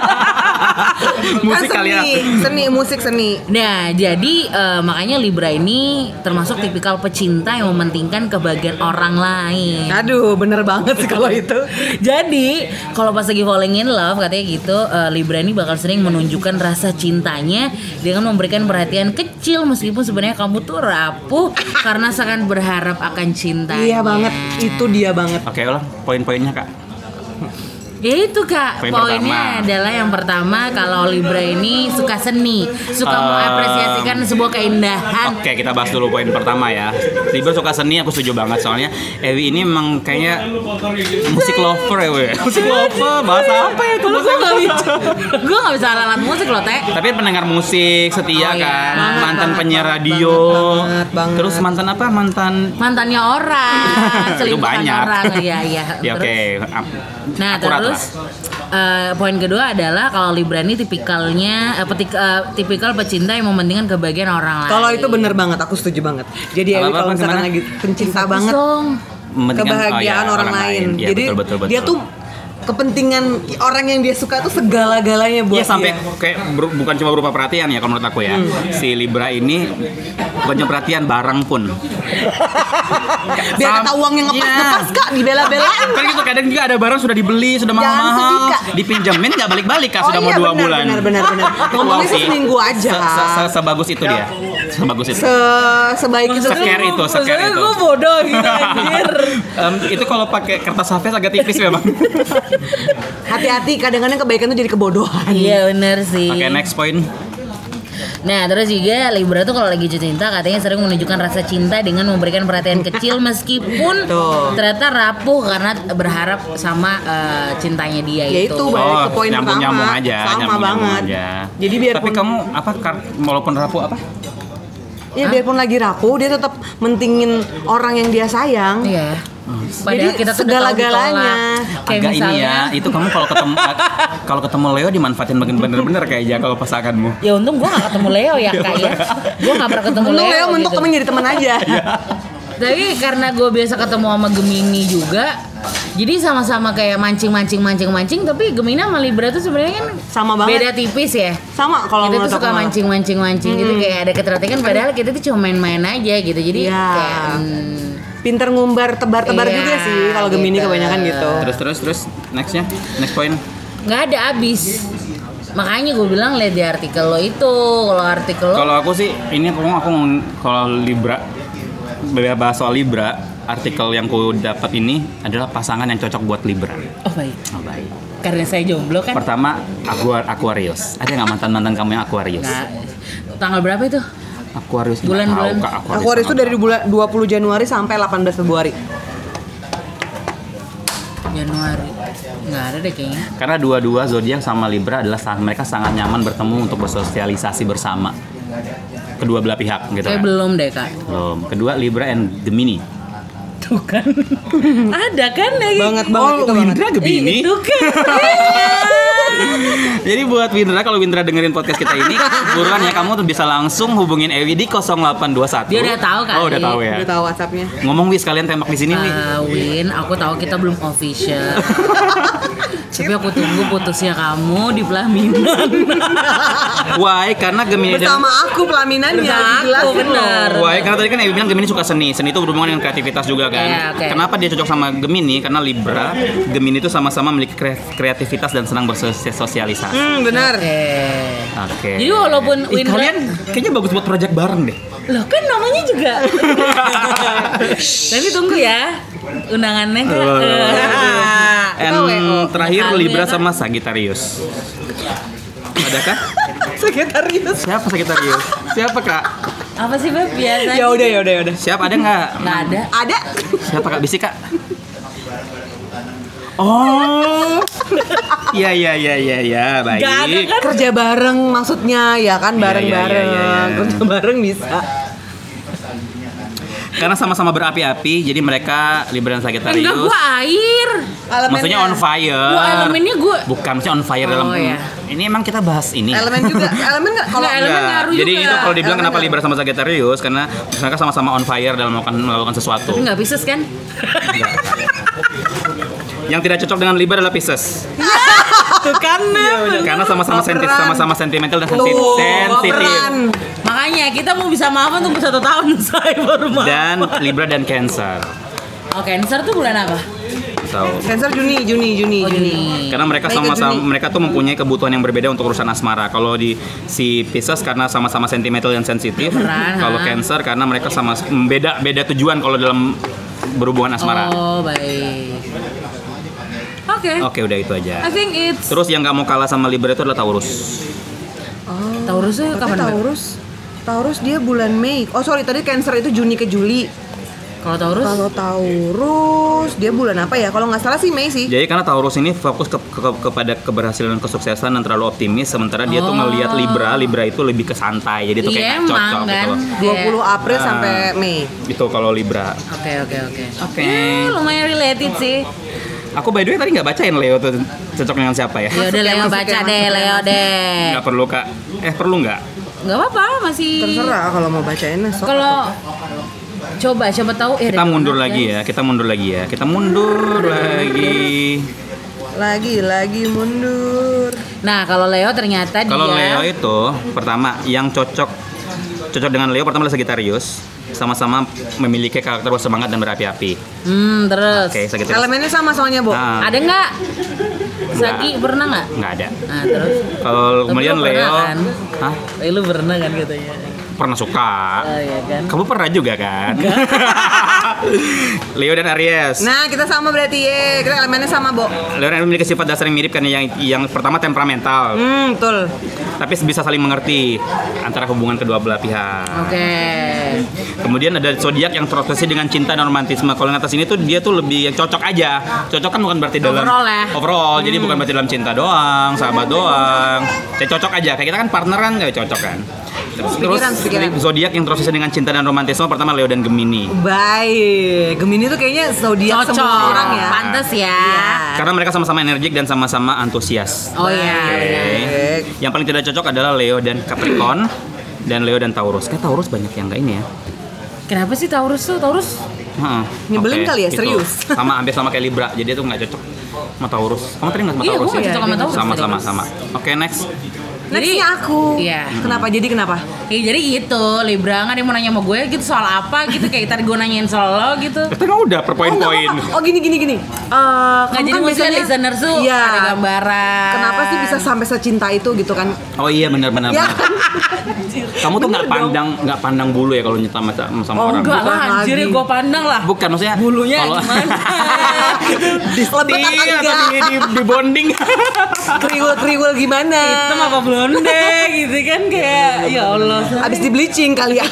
[SPEAKER 2] musik
[SPEAKER 1] kan
[SPEAKER 2] kali
[SPEAKER 1] seni,
[SPEAKER 2] ya.
[SPEAKER 1] seni musik seni.
[SPEAKER 3] Nah, jadi eh, makanya Libra ini termasuk tipikal pecinta yang mementingkan kebahagiaan orang lain.
[SPEAKER 1] Aduh, bener banget sih kalau itu.
[SPEAKER 3] Jadi kalau pas lagi falling in love katanya gitu eh, Libra ini bakal sering menunjukkan rasa cintanya dengan memberikan perhatian kecil meskipun sebenarnya kamu tuh rapuh karena sangat berharap akan cinta.
[SPEAKER 1] Iya banget, itu dia banget.
[SPEAKER 2] Oke ulang poin-poinnya kak.
[SPEAKER 3] Ya itu kak
[SPEAKER 2] Poin pertama.
[SPEAKER 3] poinnya adalah yang pertama kalau Libra ini suka seni, suka
[SPEAKER 2] Um,
[SPEAKER 3] mengapresiasikan sebuah
[SPEAKER 1] Ah.
[SPEAKER 3] keindahan.
[SPEAKER 2] Oke kita bahas dulu poin pertama ya. Libra suka seni aku setuju banget soalnya Ewi ini emang kayaknya musik lover ya we. Musik lover bahasa apa ya itu?
[SPEAKER 3] Lu gue gak bisa, gue gak bisa alat musik loh teh.
[SPEAKER 2] Tapi pendengar musik setia
[SPEAKER 3] Oh, iya.
[SPEAKER 2] kan,
[SPEAKER 3] Banget,
[SPEAKER 2] mantan
[SPEAKER 1] banget,
[SPEAKER 2] penyiar
[SPEAKER 1] banget,
[SPEAKER 2] radio,
[SPEAKER 1] banget, banget. Ah,
[SPEAKER 2] terus mantan apa mantan?
[SPEAKER 3] Mantannya orang,
[SPEAKER 2] itu
[SPEAKER 3] selingkuhan
[SPEAKER 2] banyak.
[SPEAKER 3] orang, iya iya.
[SPEAKER 2] ya oke.
[SPEAKER 3] Terus-
[SPEAKER 2] Ap-
[SPEAKER 3] Nah
[SPEAKER 2] akurat
[SPEAKER 3] terus
[SPEAKER 2] lah.
[SPEAKER 3] eh, poin kedua adalah kalau Libra ini tipikalnya eh, petik- eh, tipikal pecinta yang mementingkan kebahagiaan orang lain.
[SPEAKER 1] Kalau itu bener banget, aku setuju banget. Jadi
[SPEAKER 2] Apa-apa,
[SPEAKER 1] Ewi kalau
[SPEAKER 2] apa,
[SPEAKER 1] misalkan
[SPEAKER 2] gimana?
[SPEAKER 1] lagi pencinta banget
[SPEAKER 3] Dong.
[SPEAKER 2] Mementingkan- oh, ya,
[SPEAKER 1] kebahagiaan orang, lain.
[SPEAKER 2] Ya,
[SPEAKER 1] Jadi
[SPEAKER 2] betul, betul, betul.
[SPEAKER 1] dia tuh kepentingan orang yang dia suka tuh segala-galanya buat
[SPEAKER 2] Iya sampai
[SPEAKER 1] dia. Hmm.
[SPEAKER 2] kayak beru- bukan cuma berupa perhatian ya kalau menurut aku ya. Si Libra ini bukan cuma perhatian barang pun.
[SPEAKER 1] biar
[SPEAKER 2] Sam-
[SPEAKER 1] kata uang yang ngepas
[SPEAKER 2] Iya.
[SPEAKER 1] ngepas kak dibela-belain.
[SPEAKER 2] Kan gitu kadang juga ada barang sudah dibeli, sudah
[SPEAKER 1] Jangan sedih,
[SPEAKER 2] mahal-mahal,
[SPEAKER 1] Kak.
[SPEAKER 2] dipinjemin nggak balik-balik kak sudah
[SPEAKER 1] Oh,
[SPEAKER 2] mau
[SPEAKER 1] iya,
[SPEAKER 2] dua
[SPEAKER 1] benar,
[SPEAKER 2] bulan.
[SPEAKER 1] Benar benar benar.
[SPEAKER 2] Itu
[SPEAKER 1] Ngomongnya
[SPEAKER 2] wow
[SPEAKER 1] sih
[SPEAKER 2] sih.
[SPEAKER 1] seminggu aja. Ya.
[SPEAKER 2] Se- se- se- sebagus itu dia. Sebagus itu.
[SPEAKER 1] Se sebaik itu.
[SPEAKER 2] Scare itu,
[SPEAKER 3] Maksudnya
[SPEAKER 2] scare itu.
[SPEAKER 3] gue bodoh gitu anjir.
[SPEAKER 2] Em, itu kalau pakai kertas HVS agak tipis memang. Oke,
[SPEAKER 1] Hati-hati kadang-kadang kebaikan tuh jadi kebodohan.
[SPEAKER 3] Iya benar sih.
[SPEAKER 2] next point.
[SPEAKER 3] Nah terus juga Libra tuh kalau lagi jatuh cinta katanya sering menunjukkan rasa cinta dengan memberikan perhatian kecil meskipun
[SPEAKER 1] Tuh.
[SPEAKER 3] ternyata rapuh karena berharap sama eh, cintanya dia
[SPEAKER 1] Ya
[SPEAKER 3] itu.
[SPEAKER 1] itu balik ke poin
[SPEAKER 2] nyambung nyambung
[SPEAKER 1] pertama.
[SPEAKER 2] Oh, aja,
[SPEAKER 1] Sama
[SPEAKER 2] nyambung
[SPEAKER 1] banget.
[SPEAKER 2] aja.
[SPEAKER 1] Jadi biarpun-
[SPEAKER 2] Tapi kamu apa kar- walaupun rapuh apa?
[SPEAKER 1] Iya biarpun lagi rapuh dia tetap mentingin orang yang dia sayang.
[SPEAKER 3] Iya.
[SPEAKER 1] Jadi
[SPEAKER 3] Padahal kita tuh udah tahu
[SPEAKER 1] segala-galanya.
[SPEAKER 3] ditolak.
[SPEAKER 2] Hmm.
[SPEAKER 3] Kayak
[SPEAKER 2] Agak ini
[SPEAKER 3] misalnya,
[SPEAKER 2] ya, itu kamu kalau ketemu kalau ketemu Leo dimanfaatin makin bener-bener kayaknya kalau pasanganmu.
[SPEAKER 3] Ya untung gue gak ketemu Leo ya kak ya Gue gak pernah ketemu
[SPEAKER 1] Untung
[SPEAKER 3] Leo,
[SPEAKER 1] Leo mentok
[SPEAKER 3] gitu.
[SPEAKER 1] temen jadi teman aja.
[SPEAKER 3] Tapi karena gue biasa ketemu sama Gemini juga Jadi sama-sama kayak mancing-mancing-mancing-mancing Tapi Gemini sama Libra tuh sebenarnya kan
[SPEAKER 1] Sama banget.
[SPEAKER 3] Beda tipis ya
[SPEAKER 1] Sama kalau
[SPEAKER 3] kita
[SPEAKER 1] menurut
[SPEAKER 3] tuh
[SPEAKER 1] aku
[SPEAKER 3] suka
[SPEAKER 1] malah.
[SPEAKER 3] mancing-mancing-mancing gitu kayak ada ketertarikan padahal kita tuh cuma main-main aja gitu jadi
[SPEAKER 1] Iya.
[SPEAKER 3] kayak hmm,
[SPEAKER 1] Pinter ngumbar tebar-tebar
[SPEAKER 3] Iya,
[SPEAKER 1] juga sih kalau Gemini
[SPEAKER 3] gitu.
[SPEAKER 1] kebanyakan gitu.
[SPEAKER 2] Terus terus terus nextnya next point.
[SPEAKER 3] nggak ada abis makanya gue bilang lihat di artikel lo itu kalau artikel lo
[SPEAKER 2] Kalau aku sih ini aku aku ngomong- kalau Libra bahas soal Libra artikel yang ku dapat ini adalah pasangan yang cocok buat Libra.
[SPEAKER 3] oh baik karena saya jomblo kan
[SPEAKER 2] Pertama Aqua- Aquarius. Ada nggak mantan mantan kamu yang Aquarius?
[SPEAKER 3] Nah, tanggal berapa itu
[SPEAKER 2] Aquarius nggak
[SPEAKER 3] Bulan-
[SPEAKER 2] tahu,
[SPEAKER 3] bulan.
[SPEAKER 2] Kak,
[SPEAKER 1] Aquarius itu
[SPEAKER 2] tanggal
[SPEAKER 1] dari bulan 20 Januari sampai 18 Februari.
[SPEAKER 3] Januari nggak ada deh kayaknya
[SPEAKER 2] Karena dua-dua zodiak sama Libra adalah sangat mereka sangat nyaman bertemu untuk bersosialisasi bersama kedua belah pihak gitu
[SPEAKER 3] kayak
[SPEAKER 2] kan.
[SPEAKER 3] belum deh kak
[SPEAKER 2] Belum. Kedua Libra and Gemini.
[SPEAKER 3] tuh kan ada kan lagi
[SPEAKER 1] Banget banget itu banget.
[SPEAKER 3] Ih, itu kan
[SPEAKER 2] Jadi buat Windra kalau Windra dengerin podcast kita ini buruan ya kamu tuh bisa langsung hubungin Ewi di 0821.
[SPEAKER 3] Dia udah tahu
[SPEAKER 2] Oh, udah
[SPEAKER 3] kali.
[SPEAKER 2] tahu ya.
[SPEAKER 1] Udah tahu WhatsApp-nya.
[SPEAKER 2] Ngomong Wis kalian tembak di sini nih.
[SPEAKER 3] Ah, Win, aku tahu kita belum official. Tapi aku tunggu putusnya kamu di pelaminan.
[SPEAKER 2] Why? Karena Gemini dan
[SPEAKER 1] Iya, Bersama aku pelaminannya.
[SPEAKER 3] Bersama aku,
[SPEAKER 1] dijelasin loh.
[SPEAKER 3] benar.
[SPEAKER 2] Why? Karena tadi kan Ewi bilang Gemini suka seni. Seni itu berhubungan dengan kreativitas juga kan.
[SPEAKER 3] Iya, oke.
[SPEAKER 2] Kenapa dia cocok sama Gemini? Karena Libra, Gemini itu sama-sama memiliki kre- kreativitas dan senang bersosialisasi.
[SPEAKER 1] Hmm, benar.
[SPEAKER 3] Eh.
[SPEAKER 2] Oke.
[SPEAKER 3] Jadi walaupun
[SPEAKER 2] Ih,
[SPEAKER 3] Windra-
[SPEAKER 2] kalian kayaknya bagus buat project bareng deh.
[SPEAKER 3] Loh kan namanya juga. Tapi tunggu ya undangannya. Kak. Eh.
[SPEAKER 1] Kita WO.
[SPEAKER 2] And terakhir
[SPEAKER 3] Kalian
[SPEAKER 2] Libra
[SPEAKER 3] kan-
[SPEAKER 2] sama Sagittarius. Adakah?
[SPEAKER 1] Sekretarius.
[SPEAKER 2] Siapa Sagittarius? Siapa kak?
[SPEAKER 3] Apa sih Beb biasanya?
[SPEAKER 1] Ya udah ya udah ya udah.
[SPEAKER 2] Siapa ada nggak?
[SPEAKER 3] Nggak ada.
[SPEAKER 1] Ada.
[SPEAKER 2] Siapa kak? Bisik kak? Oh, iya iya iya iya iya baik.
[SPEAKER 3] Nggak ada kan?
[SPEAKER 1] Kerja bareng maksudnya ya kan
[SPEAKER 2] Iya,
[SPEAKER 1] bareng-bareng.
[SPEAKER 2] iya, iya, iya.
[SPEAKER 1] Kerja bareng bisa.
[SPEAKER 2] Karena sama-sama berapi-api, jadi mereka Libra dan Sagittarius.
[SPEAKER 3] Enggak gua air.
[SPEAKER 2] Maksudnya on fire.
[SPEAKER 3] Gua elemennya gua
[SPEAKER 2] Bukan maksudnya on fire dalam.
[SPEAKER 3] Oh, iya.
[SPEAKER 2] Ini emang kita bahas ini.
[SPEAKER 1] Elemen juga. Elemen enggak kalau
[SPEAKER 3] Nggak, elemen
[SPEAKER 2] Enggak.
[SPEAKER 3] ngaruh
[SPEAKER 2] Jadi
[SPEAKER 3] juga.
[SPEAKER 2] itu kalau dibilang
[SPEAKER 1] Elemen
[SPEAKER 2] kenapa
[SPEAKER 1] ngaruh.
[SPEAKER 2] Libra sama Sagittarius karena mereka sama-sama on fire dalam melakukan melakukan sesuatu.
[SPEAKER 3] Enggak Pisces kan?
[SPEAKER 2] Yang tidak cocok dengan Libra adalah Pisces.
[SPEAKER 3] Tuh kan Iya. bener.
[SPEAKER 2] Karena sama-sama sensitif,
[SPEAKER 1] Baperan.
[SPEAKER 2] sama-sama sentimental dan
[SPEAKER 1] Lu
[SPEAKER 2] sensitif. sensitif.
[SPEAKER 1] baperan.
[SPEAKER 3] Makanya kita mau bisa maafan tunggu satu tahun saya baru maafan.
[SPEAKER 2] Dan Libra dan Cancer.
[SPEAKER 3] Oh Cancer tuh bulan apa?
[SPEAKER 2] So,
[SPEAKER 1] Cancer Juni, Juni, Juni,
[SPEAKER 3] Oh,
[SPEAKER 1] Juni.
[SPEAKER 3] Juni.
[SPEAKER 2] karena mereka
[SPEAKER 1] Baik,
[SPEAKER 2] sama-sama
[SPEAKER 1] Juni.
[SPEAKER 2] mereka tuh mempunyai kebutuhan yang berbeda untuk urusan asmara. Kalau di si Pisces karena sama-sama sentimental dan sensitif.
[SPEAKER 3] Baperan,
[SPEAKER 2] Kalau
[SPEAKER 3] ha.
[SPEAKER 2] Cancer karena mereka sama beda beda tujuan kalau dalam berhubungan asmara.
[SPEAKER 3] Oh baik. Oke.
[SPEAKER 2] Oke, udah itu
[SPEAKER 3] I
[SPEAKER 2] aja.
[SPEAKER 3] think it's
[SPEAKER 2] Terus yang nggak mau kalah sama Libra itu adalah Taurus.
[SPEAKER 3] Taurus tuh
[SPEAKER 1] Oh. Tapi
[SPEAKER 3] kapan? Mbak?
[SPEAKER 1] Taurus, Taurus dia bulan Mei. Oh sorry, tadi Cancer itu Juni ke Juli.
[SPEAKER 3] Kalau Taurus
[SPEAKER 1] Kalau Taurus dia bulan apa ya? Kalau nggak salah sih Mei sih.
[SPEAKER 2] Jadi karena Taurus ini fokus ke- ke- kepada keberhasilan dan kesuksesan dan terlalu optimis sementara dia tuh
[SPEAKER 3] Oh.
[SPEAKER 2] ngelihat Libra, Libra itu lebih ke santai. Jadi itu kayak
[SPEAKER 3] Iya
[SPEAKER 2] nggak cocok
[SPEAKER 3] emang kan
[SPEAKER 2] gitu loh.
[SPEAKER 3] Iya.
[SPEAKER 1] 20 April
[SPEAKER 2] Ah.
[SPEAKER 1] sampai Mei.
[SPEAKER 2] Itu kalau Libra.
[SPEAKER 3] Oke oke oke
[SPEAKER 2] Oke.
[SPEAKER 3] Ya, Lumayan related sih
[SPEAKER 2] Aku by the way tadi nggak bacain Leo tuh cocok dengan siapa ya?
[SPEAKER 3] Ya udah
[SPEAKER 1] ya,
[SPEAKER 3] Leo
[SPEAKER 1] masuk ya,
[SPEAKER 3] baca
[SPEAKER 1] masuk
[SPEAKER 3] deh
[SPEAKER 1] ya.
[SPEAKER 3] Leo deh
[SPEAKER 2] Nggak perlu kak. Eh perlu nggak?
[SPEAKER 3] Gak apa-apa masih
[SPEAKER 1] Terserah kalau mau bacain esok.
[SPEAKER 3] Kalau Coba siapa tahu eh,
[SPEAKER 2] Kita
[SPEAKER 3] dari
[SPEAKER 2] mundur
[SPEAKER 3] mana,
[SPEAKER 2] lagi
[SPEAKER 3] guys?
[SPEAKER 2] ya. Kita mundur lagi ya. Kita mundur lagi.
[SPEAKER 1] lagi lagi mundur.
[SPEAKER 3] Nah kalau Leo ternyata dia
[SPEAKER 2] Kalau Leo itu pertama yang cocok cocok dengan Leo pertama adalah Sagittarius sama-sama memiliki karakter bersemangat dan berapi-api.
[SPEAKER 3] Hmm terus
[SPEAKER 2] Oke, Sagittarius.
[SPEAKER 1] Elemennya sama soalnya, Bo.
[SPEAKER 2] Nah,
[SPEAKER 3] Ada nggak?
[SPEAKER 2] Nggak.
[SPEAKER 3] Sagi pernah nggak?
[SPEAKER 2] nggak ada.
[SPEAKER 3] Nah terus
[SPEAKER 2] Kalau
[SPEAKER 3] Tapi
[SPEAKER 2] kemudian
[SPEAKER 3] lo
[SPEAKER 2] Leo,
[SPEAKER 3] pernah kan?
[SPEAKER 2] Hah?
[SPEAKER 3] Eh, lu pernah kan katanya
[SPEAKER 2] pernah suka.
[SPEAKER 3] Oh iya kan
[SPEAKER 2] Kamu pernah juga kan? Leo dan Aries.
[SPEAKER 1] Nah, kita sama berarti ye. Kita elemennya sama, Bo.
[SPEAKER 2] Leo dan Aries memiliki sifat dasar yang mirip karena yang yang pertama temperamental,
[SPEAKER 1] Hmm, betul.
[SPEAKER 2] tapi bisa saling mengerti antara hubungan kedua belah pihak.
[SPEAKER 3] Oke
[SPEAKER 2] Kemudian ada zodiak yang terobsesi dengan cinta dan romantisme. Kalau yang atas ini tuh dia tuh lebih yang cocok aja. Cocok kan bukan berarti dalam
[SPEAKER 3] Overall ya.
[SPEAKER 2] Overall, jadi bukan berarti dalam cinta doang, sahabat doang. Saya cocok aja. Kayak kita kan partneran nggak cocok kan. Terus, terus
[SPEAKER 1] Pikiran, pikiran.
[SPEAKER 2] zodiak yang terobsesi dengan cinta dan romantisme pertama Leo dan Gemini.
[SPEAKER 1] Baik. Gemini tuh kayaknya zodiak
[SPEAKER 3] Cocok
[SPEAKER 1] semua orang ya. Iya.
[SPEAKER 3] Pantes ya
[SPEAKER 2] Karena mereka sama-sama energik dan sama-sama antusias.
[SPEAKER 3] Oh iya benar.
[SPEAKER 1] Baik.
[SPEAKER 2] Yang paling tidak cocok adalah Leo dan Capricorn dan Leo dan Taurus. Kayak Taurus banyak yang nggak ini ya.
[SPEAKER 3] Kenapa sih Taurus tuh? Taurus
[SPEAKER 2] Heeh.
[SPEAKER 1] Nyebelin
[SPEAKER 2] Oke,
[SPEAKER 1] kali ya,
[SPEAKER 2] gitu.
[SPEAKER 1] serius.
[SPEAKER 2] Sama hampir sama kayak Libra, jadi itu nggak cocok sama Taurus. Kamu tadi nggak sama
[SPEAKER 3] Iya,
[SPEAKER 2] Taurus ya?
[SPEAKER 3] gua nggak cocok sama Taurus
[SPEAKER 2] Sama
[SPEAKER 3] tadi.
[SPEAKER 2] sama sama. Oke next.
[SPEAKER 1] Nextnya
[SPEAKER 3] Jadi-
[SPEAKER 1] aku.
[SPEAKER 3] Iya.
[SPEAKER 1] Kenapa jadi kenapa?
[SPEAKER 3] Ya, jadi gitu, Libra nggak ada yang mau nanya sama gue gitu soal apa gitu kayak tadi gue nanyain soal lo gitu.
[SPEAKER 2] Kita kan udah per
[SPEAKER 1] Oh, enggak
[SPEAKER 2] poin-poin.
[SPEAKER 1] apa-apa. Oh, gini gini gini. Eh, kamu
[SPEAKER 3] Nggak jadi maksudnya listeners tuh
[SPEAKER 1] Iya.
[SPEAKER 3] ada gambaran.
[SPEAKER 1] Kenapa sih bisa sampai secinta itu gitu kan?
[SPEAKER 2] Oh iya benar-benar.
[SPEAKER 1] Ya.
[SPEAKER 2] benar. Kamu tuh nggak pandang nggak pandang bulu ya kalau nyetam sama, sama
[SPEAKER 1] Oh,
[SPEAKER 2] orang.
[SPEAKER 3] Enggak lah,
[SPEAKER 1] Bukan
[SPEAKER 3] anjir
[SPEAKER 1] lagi.
[SPEAKER 3] gue pandang lah.
[SPEAKER 2] Bukan maksudnya
[SPEAKER 3] Bulunya
[SPEAKER 2] kalau-
[SPEAKER 3] gimana?
[SPEAKER 1] Diselebet
[SPEAKER 2] Di-
[SPEAKER 1] apa
[SPEAKER 2] atau di,
[SPEAKER 1] enggak?
[SPEAKER 2] di, di bonding.
[SPEAKER 1] Kriwil-kriwil gimana?
[SPEAKER 3] Hitam apa blonde gitu kan
[SPEAKER 1] Iya,
[SPEAKER 3] kayak ya Allah.
[SPEAKER 1] Abis di bleaching kali ya.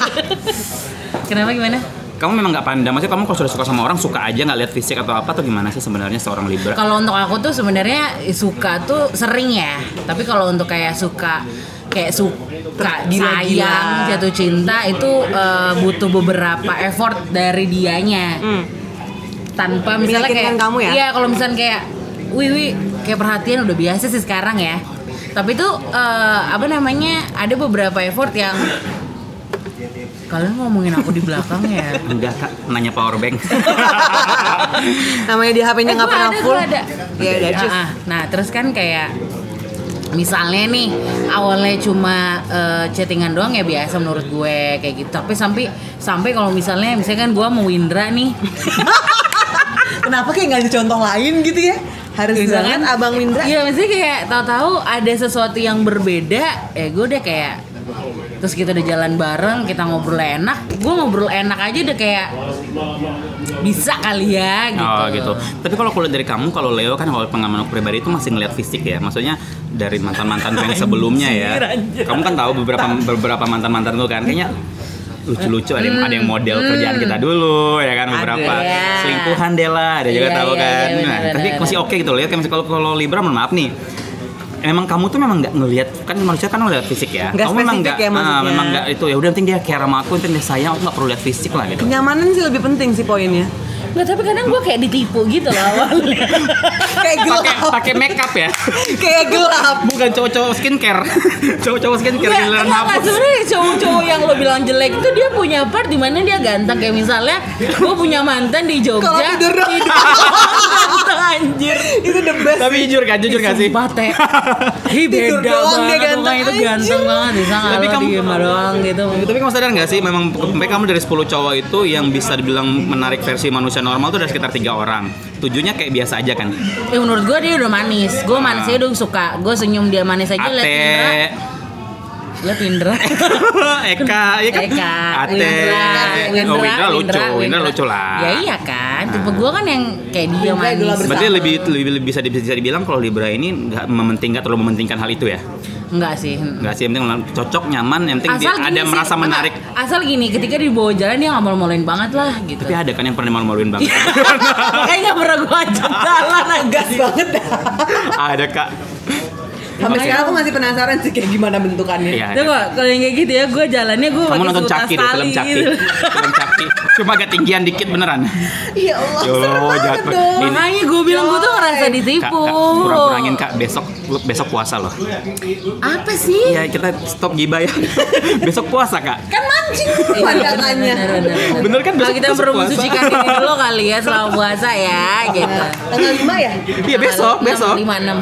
[SPEAKER 3] Kenapa gimana?
[SPEAKER 2] kamu memang nggak pandang. Maksudnya kamu kalau sudah suka sama orang suka aja nggak lihat fisik atau apa atau gimana sih sebenarnya seorang Libra?
[SPEAKER 3] Kalau untuk aku tuh sebenarnya suka tuh sering ya. Tapi kalau untuk kayak suka kayak suka
[SPEAKER 1] Gila-gila.
[SPEAKER 3] sayang jatuh cinta itu eh, butuh beberapa effort dari dianya.
[SPEAKER 2] Hmm.
[SPEAKER 3] tanpa misalnya
[SPEAKER 1] Meyakinkan
[SPEAKER 3] kayak
[SPEAKER 1] kamu ya?
[SPEAKER 3] iya kalau misalnya kayak wih wih kayak perhatian udah biasa sih sekarang ya tapi tuh eh, apa namanya ada beberapa effort yang kalian ngomongin aku di belakang ya
[SPEAKER 2] Enggak kak, nanya power bank.
[SPEAKER 1] Namanya di HP-nya
[SPEAKER 3] Eh,
[SPEAKER 1] nggak
[SPEAKER 3] gua
[SPEAKER 1] pernah
[SPEAKER 3] ada,
[SPEAKER 1] full.
[SPEAKER 3] gua ada.
[SPEAKER 1] Iya, udah cus.
[SPEAKER 3] Ah, ah. nah terus kan kayak misalnya nih awalnya cuma eh, chattingan doang ya biasa menurut gue kayak gitu tapi sampai sampai kalau misalnya misalnya kan gue mau Windra nih
[SPEAKER 1] Kenapa kayak nggak ada contoh lain gitu ya? Harus
[SPEAKER 3] Misalkan-
[SPEAKER 1] banget kan Abang Windra.
[SPEAKER 3] Iya maksudnya kayak tahu-tahu ada sesuatu yang berbeda Eh gue udah kayak Terus kita udah jalan bareng Kita ngobrol enak Gue ngobrol enak aja udah kayak Bisa kali ya gitu
[SPEAKER 2] Oh gitu. Tapi kalau kulihat dari kamu, kalau Leo kan kalau pengalaman aku pribadi itu masih ngelihat fisik ya. Maksudnya dari mantan mantan yang sebelumnya ya.
[SPEAKER 3] anjir.
[SPEAKER 2] Kamu kan tahu beberapa beberapa mantan mantan gue kan kayaknya lucu-lucu ada yang ada yang model kerjaan kita dulu ya kan beberapa
[SPEAKER 3] Hmm, ya.
[SPEAKER 2] selingkuhan Dela ada juga
[SPEAKER 3] Iya,
[SPEAKER 2] tahu
[SPEAKER 3] iya,
[SPEAKER 2] kan.
[SPEAKER 3] iya, benar,
[SPEAKER 2] Nah,
[SPEAKER 3] benar,
[SPEAKER 2] tapi
[SPEAKER 3] benar.
[SPEAKER 2] masih oke gitu Leo. Kayak misalnya kalau kalau Libra mohon maaf nih. Memang kamu tuh memang nggak ngelihat kan manusia kan ngelihat fisik ya.
[SPEAKER 1] Nggak
[SPEAKER 2] kamu memang
[SPEAKER 1] spesifik
[SPEAKER 2] nggak,
[SPEAKER 1] ya
[SPEAKER 2] ah,
[SPEAKER 1] maksudnya.
[SPEAKER 2] memang nggak itu ya udah penting dia care sama aku, penting dia sayang, aku nggak perlu lihat fisik lah gitu.
[SPEAKER 1] Kenyamanan sih lebih penting sih poinnya.
[SPEAKER 3] Nggak, tapi kadang gue kayak ditipu gitu loh awalnya.
[SPEAKER 1] kayak gelap
[SPEAKER 2] Pakai pakai makeup ya.
[SPEAKER 1] kayak gelap
[SPEAKER 2] Bukan cowok-cowok skincare. cowok-cowok skincare
[SPEAKER 3] Nggak,
[SPEAKER 2] giliran
[SPEAKER 3] nggak,
[SPEAKER 2] hapus.
[SPEAKER 3] Iya, sebenarnya cowok-cowok yang lo bilang jelek itu dia punya part dimana dia ganteng kayak misalnya gue punya mantan di Jogja
[SPEAKER 1] Kalau tidur dong.
[SPEAKER 3] ganteng anjir
[SPEAKER 1] itu the best
[SPEAKER 2] Tapi jujur kan, jujur gak sih?
[SPEAKER 3] Sumpah, teh Ih
[SPEAKER 1] Tidur doang dia
[SPEAKER 3] beda banget
[SPEAKER 1] ganteng,
[SPEAKER 3] pokoknya itu ganteng
[SPEAKER 1] anjir.
[SPEAKER 3] banget Bisa nggak
[SPEAKER 2] Tapi
[SPEAKER 3] lo
[SPEAKER 2] kamu-
[SPEAKER 3] diem doang gitu
[SPEAKER 2] Tapi kamu sadar nggak sih, memang sampai kamu dari 10 cowok itu yang bisa dibilang menarik versi manusia normal tuh ada sekitar tiga orang. Tujuhnya kayak biasa aja kan.
[SPEAKER 3] Ya menurut gue dia udah manis Gue manis aja udah suka Gue senyum dia manis aja Liat
[SPEAKER 2] Ate,
[SPEAKER 3] Indra Liat Indra Iya,
[SPEAKER 2] Eka, ya kan?
[SPEAKER 3] Eka,
[SPEAKER 2] Ate,
[SPEAKER 3] Windra,
[SPEAKER 2] oh Windra lucu, Windra
[SPEAKER 3] Windra.
[SPEAKER 2] lucu lah.
[SPEAKER 3] Ya iya kan, tipe gue kan yang kayak dia
[SPEAKER 1] Windra idola
[SPEAKER 3] manis.
[SPEAKER 1] bersama.
[SPEAKER 2] Berarti lebih, lebih, lebih bisa, bisa dibilang kalau Libra ini nggak mementingkan terlalu mementingkan hal itu ya?
[SPEAKER 3] Enggak sih.
[SPEAKER 2] Nggak sih, yang penting cocok, nyaman, yang penting dia ada
[SPEAKER 3] gini sih,
[SPEAKER 2] merasa
[SPEAKER 3] enggak,
[SPEAKER 2] menarik.
[SPEAKER 3] Asal gini, ketika dibawa jalan dia nggak malu-maluin banget lah gitu.
[SPEAKER 2] Tapi ada kan yang pernah malu-maluin banget.
[SPEAKER 3] Makanya nggak pernah gue ajak jalan aja.
[SPEAKER 1] gas banget dah
[SPEAKER 2] Ah, ada kak.
[SPEAKER 1] sampai
[SPEAKER 2] Oke.
[SPEAKER 1] sekarang aku masih penasaran sih kayak gimana bentukannya
[SPEAKER 2] Iya, ada.
[SPEAKER 3] Coba kalau yang kayak gitu ya gue jalannya gue
[SPEAKER 2] Kamu
[SPEAKER 3] pakai
[SPEAKER 2] nonton
[SPEAKER 3] seutas
[SPEAKER 2] Caki deh, film
[SPEAKER 3] tali
[SPEAKER 2] Caki.
[SPEAKER 3] gitu.
[SPEAKER 2] film Caki. Cuma agak tinggian dikit beneran.
[SPEAKER 1] ya Allah
[SPEAKER 2] Ya
[SPEAKER 1] serem
[SPEAKER 2] Allah, jahat
[SPEAKER 1] banget
[SPEAKER 2] banget.
[SPEAKER 1] dong
[SPEAKER 2] Ini-
[SPEAKER 3] Makanya gue bilang gue tuh ngerasa
[SPEAKER 2] Kak,
[SPEAKER 3] ditipu.
[SPEAKER 2] kak, kurang-kurangin kak. Besok besok puasa loh.
[SPEAKER 3] Apa sih?
[SPEAKER 2] Iya kita stop gibah ya. besok puasa kak.
[SPEAKER 1] kan mancing
[SPEAKER 3] Iya,
[SPEAKER 1] pandangannya
[SPEAKER 3] bener, bener, bener, bener.
[SPEAKER 2] Bener kan
[SPEAKER 3] Kalau
[SPEAKER 2] besok
[SPEAKER 3] kita
[SPEAKER 2] besok
[SPEAKER 3] perlu
[SPEAKER 2] puasa.
[SPEAKER 3] mensucikan diri dulu kali ya selama puasa ya gitu.
[SPEAKER 1] tanggal 5 ya
[SPEAKER 2] Iya besok besok
[SPEAKER 3] lima enam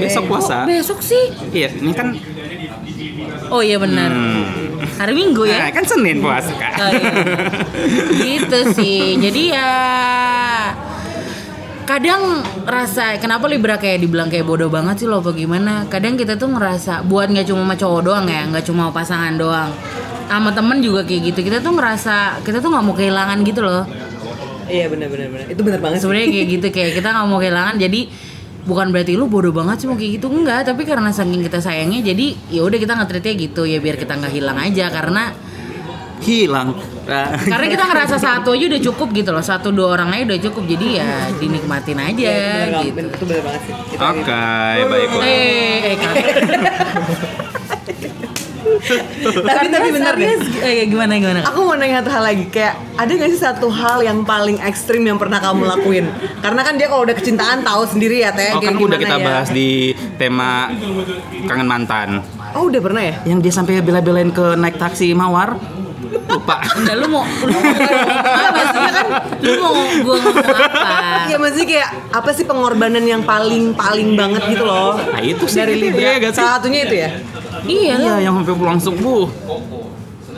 [SPEAKER 2] besok puasa.
[SPEAKER 3] besok sih
[SPEAKER 2] Iya ini kan
[SPEAKER 3] oh iya benar
[SPEAKER 2] Hmm.
[SPEAKER 3] hari minggu ya
[SPEAKER 2] nah, kan Senin puasa kak.
[SPEAKER 3] Oh, iya. gitu sih jadi ya kadang rasa kenapa Libra kayak dibilang kayak bodoh banget sih loh apa gimana kadang kita tuh ngerasa buat nggak cuma sama cowok doang ya nggak cuma sama pasangan doang sama temen juga kayak gitu kita tuh ngerasa kita tuh nggak mau kehilangan gitu loh
[SPEAKER 1] iya benar benar benar itu benar banget sih
[SPEAKER 3] sebenarnya kayak gitu kayak kita nggak mau kehilangan jadi bukan berarti lu bodoh banget sih mau kayak gitu enggak tapi karena saking kita sayangnya jadi ya udah kita ngetritnya gitu ya biar kita nggak hilang aja karena
[SPEAKER 2] Hilang. Nah,
[SPEAKER 3] karena kita ngerasa satu aja udah cukup gitu loh satu dua orang aja udah cukup jadi ya dinikmatin aja
[SPEAKER 1] Bener banget,
[SPEAKER 3] gitu
[SPEAKER 1] bener- itu benar banget sih Itu
[SPEAKER 2] Oke, baiklah.
[SPEAKER 3] eh eh kakak.
[SPEAKER 1] tapi tapi benar deh
[SPEAKER 3] Serius, eh, gimana gimana
[SPEAKER 1] Aku mau nanya satu hal lagi, kayak ada gak sih satu hal yang paling ekstrim yang pernah kamu lakuin? Karena kan dia kalau udah kecintaan tahu sendiri ya
[SPEAKER 3] Eh,
[SPEAKER 1] teh.
[SPEAKER 2] Oh
[SPEAKER 1] kayak
[SPEAKER 2] kan udah
[SPEAKER 1] gimana
[SPEAKER 2] kita
[SPEAKER 1] ya.
[SPEAKER 2] bahas di tema kangen mantan.
[SPEAKER 1] Oh udah pernah ya?
[SPEAKER 2] Yang dia sampai bela-belain ke naik taksi mawar. Lupa.
[SPEAKER 3] Udah lu mau lu mau apa sih kan lu mau gua ngomong apa
[SPEAKER 1] Iya maksudnya kayak apa sih pengorbanan yang paling paling banget gitu loh?
[SPEAKER 2] Nah, itu sih
[SPEAKER 1] dari
[SPEAKER 2] gitu,
[SPEAKER 1] Libra.
[SPEAKER 2] iya gak sih?
[SPEAKER 1] Salah satunya itu ya.
[SPEAKER 3] iya lah
[SPEAKER 2] Iya, yang sampai langsung bu.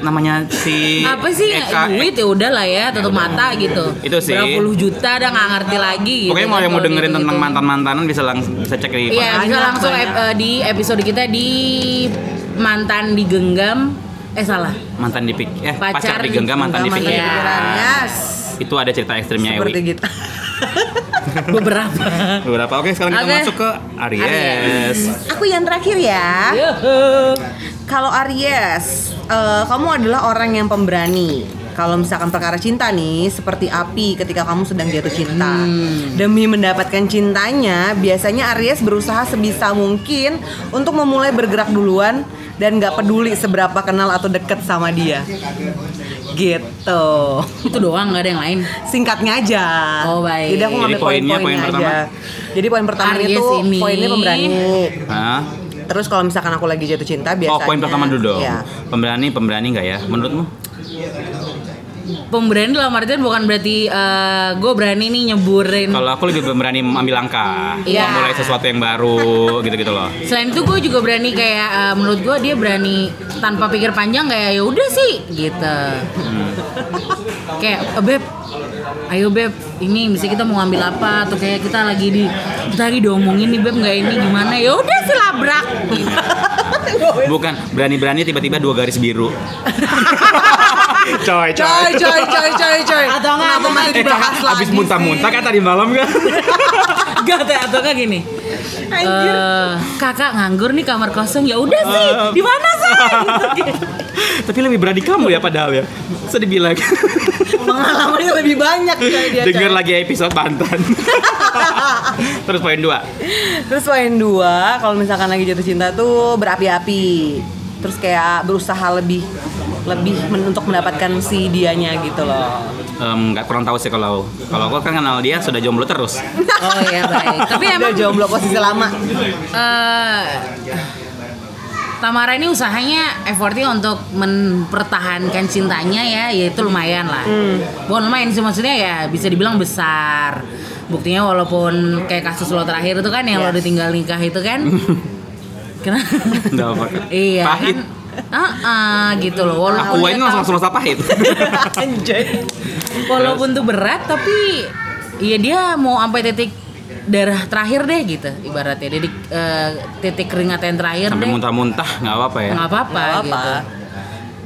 [SPEAKER 2] Namanya si
[SPEAKER 3] apa sih
[SPEAKER 2] Eka.
[SPEAKER 3] duit ya udah lah ya tutup mata gitu
[SPEAKER 2] Iya, Itu sih.
[SPEAKER 3] berapa puluh juta dah nggak ngerti lagi gitu
[SPEAKER 2] Pokoknya mau
[SPEAKER 3] kan
[SPEAKER 2] yang mau
[SPEAKER 3] kalau
[SPEAKER 2] dengerin
[SPEAKER 3] gitu-gitu.
[SPEAKER 2] tentang mantan-mantanan bisa langsung bisa cek di
[SPEAKER 3] iya bisa
[SPEAKER 1] Banyak,
[SPEAKER 3] langsung
[SPEAKER 1] banyak.
[SPEAKER 3] ep- eh, di episode kita di mantan digenggam eh salah
[SPEAKER 2] mantan di pik eh pacar, di
[SPEAKER 3] digenggam
[SPEAKER 2] genggam mantan di
[SPEAKER 1] Mantan
[SPEAKER 2] pikiran.
[SPEAKER 1] digenggam,
[SPEAKER 3] ya.
[SPEAKER 1] yes.
[SPEAKER 2] Itu ada cerita ekstrimnya
[SPEAKER 1] Seperti
[SPEAKER 2] Ewi.
[SPEAKER 1] gitu.
[SPEAKER 3] beberapa
[SPEAKER 2] Beberapa. Oke, sekarang kita
[SPEAKER 3] gitu. Oke.
[SPEAKER 2] masuk ke Aries.
[SPEAKER 1] Aku yang terakhir ya. Kalau Aries, eh, kamu adalah orang yang pemberani. Kalau misalkan perkara cinta nih, seperti api ketika kamu sedang jatuh cinta.
[SPEAKER 3] Hmm.
[SPEAKER 1] Demi mendapatkan cintanya, biasanya Aries berusaha sebisa mungkin untuk memulai bergerak duluan dan nggak peduli seberapa kenal atau deket sama dia. Gitu.
[SPEAKER 3] itu doang nggak ada yang lain
[SPEAKER 1] Singkatnya aja.
[SPEAKER 3] Oh, baik.
[SPEAKER 1] Jadi aku
[SPEAKER 2] Jadi
[SPEAKER 1] ngambil
[SPEAKER 2] poinnya,
[SPEAKER 1] poin-poinnya
[SPEAKER 2] poin
[SPEAKER 1] aja.
[SPEAKER 2] pertama.
[SPEAKER 1] Jadi poin pertama
[SPEAKER 3] Aries
[SPEAKER 1] itu
[SPEAKER 3] ini.
[SPEAKER 1] poinnya pemberani.
[SPEAKER 2] Hah?
[SPEAKER 1] Terus kalau misalkan aku lagi jatuh cinta biasanya
[SPEAKER 2] Oh, poin pertama dulu dong.
[SPEAKER 1] Iya.
[SPEAKER 2] Pemberani, pemberani nggak ya? Menurutmu?
[SPEAKER 3] pemberani dalam artian bukan berarti gue berani nih nyeburin
[SPEAKER 2] Kalau aku lebih berani ambil langkah,
[SPEAKER 3] Iya.
[SPEAKER 2] memulai sesuatu yang baru, gitu-gitu loh.
[SPEAKER 3] selain itu gue juga berani kayak eh, menurut gue dia berani tanpa pikir panjang kayak ya udah sih gitu kayak "Eh, beb ayo beb ini mesti kita mau ngambil apa atau kayak kita lagi di kita lagi diomongin nih beb nggak ini gimana ya udah sih labrak gitu.
[SPEAKER 2] Bukan berani-berani tiba-tiba dua garis biru. coy,
[SPEAKER 1] Coy, coy, coy, coy, coy.
[SPEAKER 3] Atau enggak,
[SPEAKER 1] Kenapa
[SPEAKER 3] atau
[SPEAKER 1] masih
[SPEAKER 2] Eh,
[SPEAKER 1] dibahas
[SPEAKER 2] kakak
[SPEAKER 1] lagi
[SPEAKER 2] abis muntah-muntah kan tadi malam kan?
[SPEAKER 3] Iya, Enggak teh atau kayak gini.
[SPEAKER 1] sih? Anjir.
[SPEAKER 3] "Eh, kakak nganggur nih kamar kosong ya udah sih
[SPEAKER 2] Eh.
[SPEAKER 3] di mana sih gitu.
[SPEAKER 2] Tapi lebih berani kamu ya padahal ya. Sedih bilang.
[SPEAKER 1] Pengalamannya lebih banyak coy
[SPEAKER 3] Iya,
[SPEAKER 1] dia.
[SPEAKER 2] Dengar
[SPEAKER 1] coy.
[SPEAKER 2] lagi episode Banten. Terus poin dua.
[SPEAKER 1] Terus poin dua, kalau misalkan lagi jatuh cinta tuh berapi-api. terus kayak berusaha lebih lebih men- untuk mendapatkan si dianya gitu loh
[SPEAKER 2] Em, nggak kurang tahu sih kalau kalau aku kan kenal dia sudah jomblo terus.
[SPEAKER 3] Oh ya baik. Tapi
[SPEAKER 1] Dia
[SPEAKER 3] emang
[SPEAKER 1] iya, jomblo posisi lama
[SPEAKER 3] eh, Tamara ini usahanya effortnya untuk mempertahankan cintanya ya, ya itu lumayan lah.
[SPEAKER 1] Hmm.
[SPEAKER 3] Bukan lumayan sih maksudnya ya bisa dibilang besar. Buktinya walaupun kayak kasus lo terakhir itu kan yang lo
[SPEAKER 1] Yes.
[SPEAKER 3] ditinggal nikah itu kan. Kenapa?
[SPEAKER 2] Nggak apa
[SPEAKER 3] Iya
[SPEAKER 2] Pahit.
[SPEAKER 3] kan? Ah, ah, gitu loh. Walaupun
[SPEAKER 2] Aku
[SPEAKER 3] dia
[SPEAKER 2] ini langsung
[SPEAKER 3] tahu-
[SPEAKER 2] langsung rasa pahit.
[SPEAKER 1] anjay
[SPEAKER 3] walaupun tuh berat tapi ya dia mau sampai titik darah terakhir deh gitu ibaratnya titik eh, titik keringat yang terakhir
[SPEAKER 2] Sampai
[SPEAKER 3] deh
[SPEAKER 2] muntah-muntah nggak apa-apa ya.
[SPEAKER 3] nggak apa-apa
[SPEAKER 1] Nggak apa-apa.
[SPEAKER 3] gitu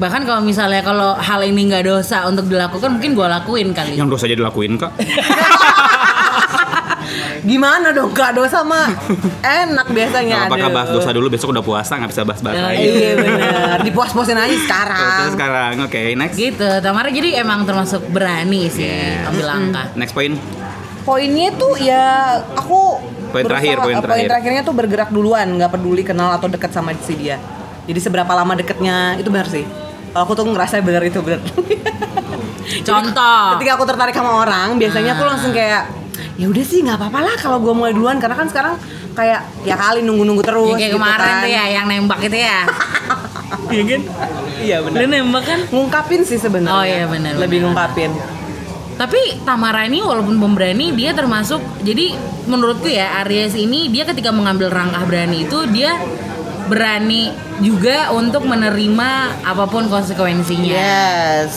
[SPEAKER 3] bahkan kalau misalnya kalau hal ini nggak dosa untuk dilakukan mungkin gua lakuin kali
[SPEAKER 2] Yang dosa aja dilakuin kok.
[SPEAKER 1] gimana dong gak dosa mah enak
[SPEAKER 2] Nggak
[SPEAKER 1] biasanya
[SPEAKER 2] apa-apa Kak,
[SPEAKER 1] aduh.
[SPEAKER 2] bahas dosa dulu besok udah puasa nggak bisa bahas-bahas
[SPEAKER 3] Iya, Nah,
[SPEAKER 2] lagi.
[SPEAKER 1] iya bener dipuas-puasin aja sekarang
[SPEAKER 2] Terus sekarang oke next
[SPEAKER 3] gitu Tamara jadi emang termasuk berani sih
[SPEAKER 2] Yes.
[SPEAKER 3] ambil langkah
[SPEAKER 2] next point.
[SPEAKER 1] poinnya tuh ya aku
[SPEAKER 2] Poin terakhir,
[SPEAKER 1] eh,
[SPEAKER 2] poin terakhir.
[SPEAKER 1] terakhirnya tuh bergerak duluan nggak peduli kenal atau deket sama si dia jadi seberapa lama deketnya itu benar sih kalau aku tuh ngerasa benar itu benar
[SPEAKER 3] contoh
[SPEAKER 1] ketika aku tertarik sama orang biasanya aku
[SPEAKER 3] Ah.
[SPEAKER 1] langsung kayak ya udah sih nggak apa-apa lah kalau gue mulai duluan karena kan sekarang kayak ya kali nunggu-nunggu terus
[SPEAKER 3] ya, kayak
[SPEAKER 1] gitu
[SPEAKER 3] kemarin
[SPEAKER 1] kan.
[SPEAKER 3] tuh ya yang nembak itu ya
[SPEAKER 1] Iya kan? Iya benar.
[SPEAKER 3] lu nembak kan
[SPEAKER 1] Ngungkapin sih sebenarnya.
[SPEAKER 3] Oh, iya, benar,
[SPEAKER 1] Lebih
[SPEAKER 3] benar.
[SPEAKER 1] ngungkapin.
[SPEAKER 3] Tapi Tamara ini walaupun pemberani dia termasuk jadi menurutku ya Aries ini dia ketika mengambil langkah berani itu dia berani juga untuk menerima apapun
[SPEAKER 1] Iya,
[SPEAKER 3] konsekuensinya.
[SPEAKER 1] Yes.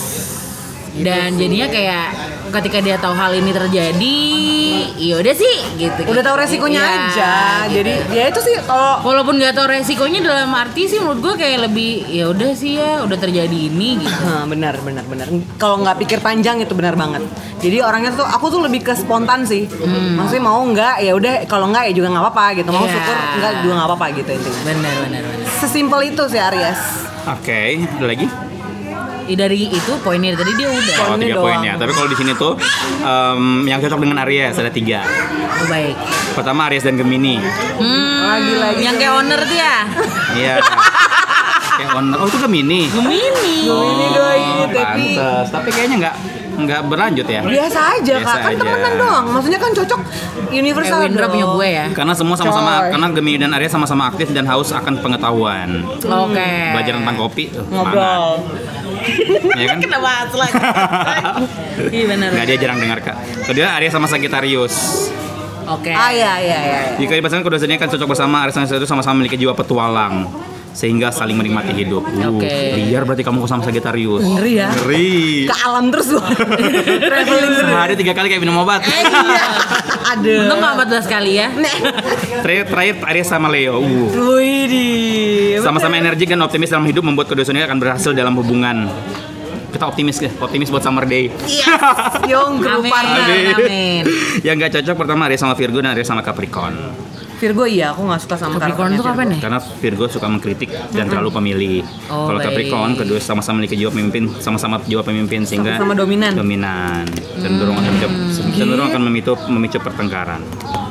[SPEAKER 1] gitu
[SPEAKER 3] Dan jadinya kayak ketika dia tahu hal ini terjadi, ya udah sih gitu.
[SPEAKER 1] Udah tahu resikonya
[SPEAKER 3] Iya,
[SPEAKER 1] aja.
[SPEAKER 3] gitu.
[SPEAKER 1] Jadi ya itu sih kalau
[SPEAKER 3] walaupun nggak tahu resikonya dalam arti sih menurut gue kayak lebih ya udah sih ya udah terjadi ini gitu.
[SPEAKER 1] Hah, benar benar benar kalau nggak pikir panjang itu benar banget jadi orangnya tuh aku tuh lebih ke spontan sih maksudnya mau nggak ya udah kalau nggak ya juga nggak apa-apa gitu mau
[SPEAKER 3] Hmm. Iya.
[SPEAKER 1] syukur nggak juga nggak apa-apa gitu intinya
[SPEAKER 3] Benar benar benar.
[SPEAKER 1] sesimpel itu sih Aries
[SPEAKER 2] Oke ada lagi.
[SPEAKER 3] Ya, dari itu poinnya dari tadi dia udah.
[SPEAKER 2] Oh,
[SPEAKER 1] Poinnya
[SPEAKER 2] tiga
[SPEAKER 1] doang.
[SPEAKER 2] poin ya. Tapi kalau di sini tuh em, yang cocok dengan Aries ada tiga.
[SPEAKER 3] Oh, baik.
[SPEAKER 2] Pertama Aries dan Gemini.
[SPEAKER 3] Hmm,
[SPEAKER 1] Lagi-lagi.
[SPEAKER 3] yang kayak owner ya? dia.
[SPEAKER 2] Iya. Kayak on- oh itu Gemini. Oh,
[SPEAKER 3] Gemini.
[SPEAKER 1] Gemini doi, tapi-
[SPEAKER 2] pantes. Tapi kayaknya nggak nggak berlanjut ya.
[SPEAKER 1] biasa aja
[SPEAKER 2] Biasa
[SPEAKER 1] kak kan
[SPEAKER 2] aja.
[SPEAKER 1] temenan doang maksudnya kan cocok
[SPEAKER 3] Kayak
[SPEAKER 1] universal
[SPEAKER 3] Windra
[SPEAKER 1] dong.
[SPEAKER 3] punya gue ya.
[SPEAKER 2] Karena semua sama-sama
[SPEAKER 1] Coy.
[SPEAKER 2] karena Gemini dan Aries sama-sama aktif dan haus akan pengetahuan.
[SPEAKER 3] Oke.
[SPEAKER 2] Belajar tentang kopi tuh.
[SPEAKER 1] Eh. ngobrol
[SPEAKER 2] Iya kan?
[SPEAKER 3] Kena bahas lagi. Iya benar.
[SPEAKER 2] Nggak dia jarang dengar kak. Kedua Aries sama Sagittarius.
[SPEAKER 3] Oke.
[SPEAKER 1] ah ya ya ya ya.
[SPEAKER 2] Jika dipasangkan kedua zodiak akan cocok bersama Aries dan Sagittarius sama-sama memiliki jiwa petualang sehingga saling menikmati hidup. Uh,
[SPEAKER 3] Oke.
[SPEAKER 2] Liar berarti kamu sama Sagittarius.
[SPEAKER 1] Ngeri ya.
[SPEAKER 2] Ngeri.
[SPEAKER 1] ke alam terus loh traveling terus
[SPEAKER 2] Sehari tiga kali kayak minum obat.
[SPEAKER 3] Eh, iya.
[SPEAKER 1] aduh
[SPEAKER 3] Untung nggak 14 kali ya.
[SPEAKER 1] Nek.
[SPEAKER 2] Terakhir, terakhir Aries sama Leo. Uh.
[SPEAKER 1] Wih, di.
[SPEAKER 2] Sama-sama energik dan optimis dalam hidup membuat kedua zodiak akan berhasil dalam hubungan. Kita optimis deh, optimis buat summer day.
[SPEAKER 1] Yes, Iya. Yong
[SPEAKER 3] Amin.
[SPEAKER 1] Gruparna.
[SPEAKER 3] Amin.
[SPEAKER 2] Yang nggak cocok pertama Aries sama Virgo dan Aries sama Capricorn.
[SPEAKER 1] Virgo iya, aku nggak suka sama
[SPEAKER 3] Capricorn
[SPEAKER 1] karakternya
[SPEAKER 3] tuh
[SPEAKER 1] Virgo.
[SPEAKER 3] kapan ya?
[SPEAKER 2] Karena Virgo suka mengkritik dan terlalu pemilih.
[SPEAKER 3] Oh,
[SPEAKER 2] Kalau
[SPEAKER 3] baik.
[SPEAKER 2] Capricorn kedua sama-sama memiliki jiwa pemimpin, sama-sama jiwa pemimpin sehingga
[SPEAKER 1] Sama-sama dominan. Hmm,
[SPEAKER 2] Dominan. Cenderung akan menjawab- cenderung akan memicu memicu pertengkaran.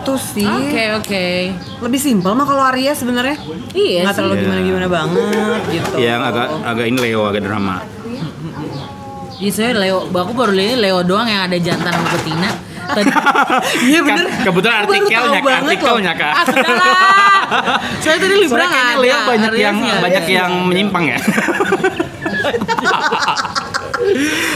[SPEAKER 1] Tuh sih.
[SPEAKER 3] Oke oke.
[SPEAKER 1] Lebih simpel mah kalau Aries sebenarnya.
[SPEAKER 3] Iya
[SPEAKER 1] Nggak
[SPEAKER 3] sih.
[SPEAKER 1] terlalu
[SPEAKER 2] Iya.
[SPEAKER 1] gimana-gimana banget gitu.
[SPEAKER 2] Yang Iya, agak agak ini Leo agak drama.
[SPEAKER 3] Iya saya Leo. Aku baru lihat Leo doang yang ada jantan sama betina. Tadi.
[SPEAKER 1] Iya bener.
[SPEAKER 2] Kan, kebetulan
[SPEAKER 1] Aku baru tahu
[SPEAKER 2] artikelnya,
[SPEAKER 1] banget
[SPEAKER 2] artikelnya
[SPEAKER 1] loh.
[SPEAKER 2] kak.
[SPEAKER 3] ah sudahlah. Saya tadi Libra
[SPEAKER 2] Soalnya
[SPEAKER 3] nggak
[SPEAKER 2] kayaknya
[SPEAKER 3] ada.
[SPEAKER 2] Leo banyak
[SPEAKER 3] Aries
[SPEAKER 2] yang
[SPEAKER 3] nggak Iya, ada.
[SPEAKER 2] banyak yang menyimpang ya.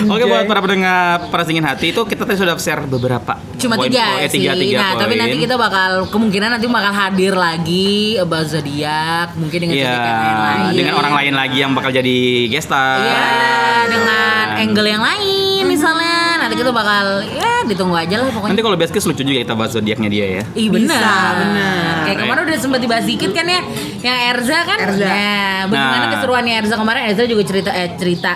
[SPEAKER 2] Oke buat para pendengar para singin hati itu kita tadi sudah share beberapa
[SPEAKER 3] Cuma
[SPEAKER 2] poin-
[SPEAKER 3] tiga
[SPEAKER 2] poin- eh,
[SPEAKER 3] sih.
[SPEAKER 2] tiga, tiga
[SPEAKER 3] nah, tapi
[SPEAKER 2] poin.
[SPEAKER 3] nanti kita bakal kemungkinan nanti bakal hadir lagi about zodiak, mungkin dengan
[SPEAKER 2] Iya,
[SPEAKER 3] zodiak yang lain.
[SPEAKER 2] dengan orang lain lagi yang bakal jadi guest star. Nah.
[SPEAKER 3] Iya, dengan
[SPEAKER 2] Kan.
[SPEAKER 3] angle yang lain misalnya. Nanti kita bakal ya ditunggu aja lah pokoknya.
[SPEAKER 2] Nanti kalau best case lucu juga kita bahas zodiaknya dia ya.
[SPEAKER 3] Ih
[SPEAKER 1] Bisa,
[SPEAKER 3] benar.
[SPEAKER 1] benar.
[SPEAKER 3] Kayak kemarin udah sempat dibahas dikit kan ya yang Erza kan.
[SPEAKER 1] Erza.
[SPEAKER 3] Nah, bagaimana
[SPEAKER 2] Nah.
[SPEAKER 3] keseruannya Erza kemarin Erza juga cerita eh cerita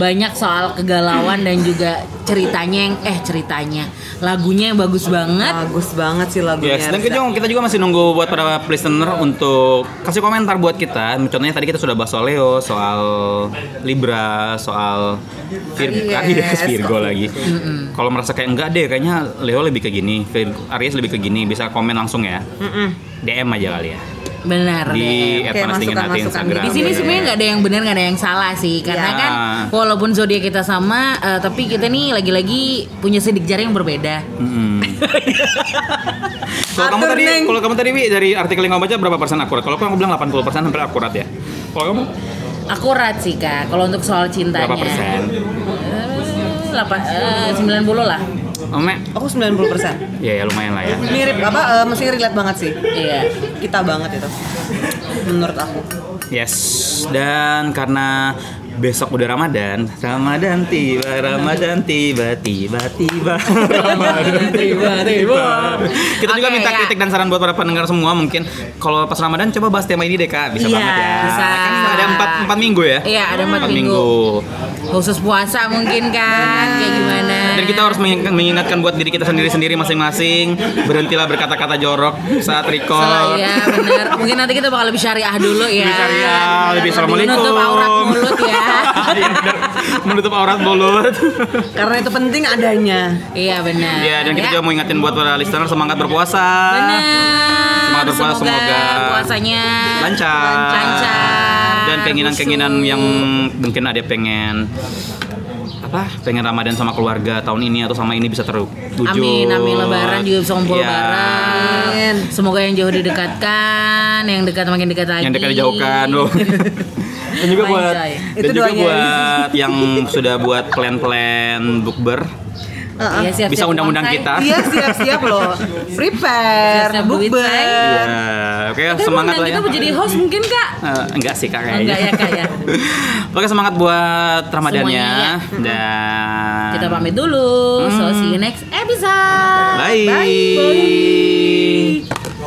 [SPEAKER 3] banyak soal kegalauan dan juga ceritanya yang eh ceritanya lagunya yang bagus banget.
[SPEAKER 1] Bagus banget sih lagunya.
[SPEAKER 3] Iya,
[SPEAKER 2] Yes, dan
[SPEAKER 1] Erza.
[SPEAKER 2] kita juga, kita juga masih nunggu buat para listener untuk kasih komentar buat kita. Contohnya tadi kita sudah bahas soal Leo, soal Libra, soal Virgo,
[SPEAKER 3] Iya.
[SPEAKER 2] Aries,
[SPEAKER 1] Aries.
[SPEAKER 2] Virgo lagi. Kalau merasa kayak enggak deh, kayaknya Leo lebih ke gini, Virgo- Aries lebih ke gini, bisa komen langsung ya. DM aja kali ya.
[SPEAKER 3] Benar.
[SPEAKER 2] di
[SPEAKER 1] DM. Kayak
[SPEAKER 2] at panas dingin hati
[SPEAKER 1] masukan-masukan
[SPEAKER 2] Instagram.
[SPEAKER 1] gitu.
[SPEAKER 3] Di sini
[SPEAKER 1] Iya,
[SPEAKER 3] sebenarnya nggak ada yang benar nggak ada yang salah sih karena
[SPEAKER 1] Iya.
[SPEAKER 2] Ya.
[SPEAKER 3] kan walaupun zodiak kita sama eh, tapi kita nih lagi-lagi punya sidik jari yang berbeda.
[SPEAKER 2] Mm-mm. Kalau kamu
[SPEAKER 1] Atur,
[SPEAKER 2] tadi,
[SPEAKER 1] Neng.
[SPEAKER 2] kalau kamu tadi Wi, dari artikel yang kamu baca berapa persen akurat? Kalau aku bilang 80 persen hampir akurat ya. Kalau kamu
[SPEAKER 3] Akurat sih kak kalau untuk soal cintanya.
[SPEAKER 2] berapa persen?
[SPEAKER 3] Eh, lapan- eh, 90 lah.
[SPEAKER 2] Ome,
[SPEAKER 1] Aku 90%.
[SPEAKER 2] ya ya lumayan lah ya.
[SPEAKER 1] Mirip apa eh, maksudnya relate banget sih.
[SPEAKER 3] Iya.
[SPEAKER 1] Kita banget itu. Menurut aku.
[SPEAKER 2] Yes. Dan karena besok udah Ramadan, Ramadan tiba, Ramadan tiba, tiba, tiba. Ramadan
[SPEAKER 3] Tiba-tiba.
[SPEAKER 2] Kita juga
[SPEAKER 3] Oke,
[SPEAKER 2] minta
[SPEAKER 3] ya.
[SPEAKER 2] kritik dan saran buat para pendengar semua mungkin kalau pas Ramadan coba bahas tema ini deh kak, bisa
[SPEAKER 3] Iya,
[SPEAKER 2] banget ya.
[SPEAKER 3] bisa.
[SPEAKER 2] Kan ada empat empat minggu ya.
[SPEAKER 3] Iya, ada empat Khusus puasa mungkin kan kayak gimana?
[SPEAKER 2] Dan kita harus mengingat- mengingatkan buat diri kita sendiri-sendiri masing-masing Berhentilah berkata-kata jorok saat
[SPEAKER 3] Salah
[SPEAKER 2] record
[SPEAKER 3] ya benar. Mungkin nanti kita bakal lebih syariah dulu ya.
[SPEAKER 2] Lebih syariah, lebih assalamualaikum
[SPEAKER 3] Menutup aurat mulut ya.
[SPEAKER 2] Iya, bener. Menutup aurat mulut
[SPEAKER 3] Nah,
[SPEAKER 1] Karena itu penting adanya.
[SPEAKER 3] Iya benar.
[SPEAKER 2] Iya, dan kita juga mau ingatin buat para listener semangat berpuasa
[SPEAKER 3] Benar.
[SPEAKER 2] Semangat berpuasa, semoga
[SPEAKER 3] puasanya
[SPEAKER 2] Lancar
[SPEAKER 3] lancar.
[SPEAKER 2] Dan keinginan-keinginan
[SPEAKER 3] Busuk.
[SPEAKER 2] yang mungkin ada pengen apa pengen Ramadan sama keluarga tahun ini atau sama ini bisa terwujud.
[SPEAKER 3] Amin, amin lebaran juga bisa ngumpul
[SPEAKER 2] Iya.
[SPEAKER 3] bareng. Semoga yang jauh didekatkan, yang dekat makin dekat lagi.
[SPEAKER 2] yang dekat dijauhkan loh. dan juga buat
[SPEAKER 3] Panjai.
[SPEAKER 2] dan
[SPEAKER 1] Itu
[SPEAKER 2] juga
[SPEAKER 1] doanya.
[SPEAKER 2] buat yang sudah buat plan-plan bookber
[SPEAKER 1] Heeh.
[SPEAKER 3] Iya, siap-siap
[SPEAKER 2] bisa undang-undang
[SPEAKER 3] bonsai.
[SPEAKER 2] kita.
[SPEAKER 1] Iya siap-siap loh. Prepare,
[SPEAKER 3] Siap-siap duit, say.
[SPEAKER 1] bukber.
[SPEAKER 2] Iya, oke
[SPEAKER 3] Tapi
[SPEAKER 2] semangat
[SPEAKER 3] undang
[SPEAKER 2] lah ya.
[SPEAKER 3] Kita mau jadi host mungkin kak.
[SPEAKER 2] Eh, enggak sih kak kayaknya.
[SPEAKER 3] Enggak ya, Kak, ya.
[SPEAKER 2] Oke semangat buat Ramadannya
[SPEAKER 3] Semuanya, ya.
[SPEAKER 2] dan Hmm.
[SPEAKER 3] Kita pamit dulu. So see you next episode.
[SPEAKER 2] Bye.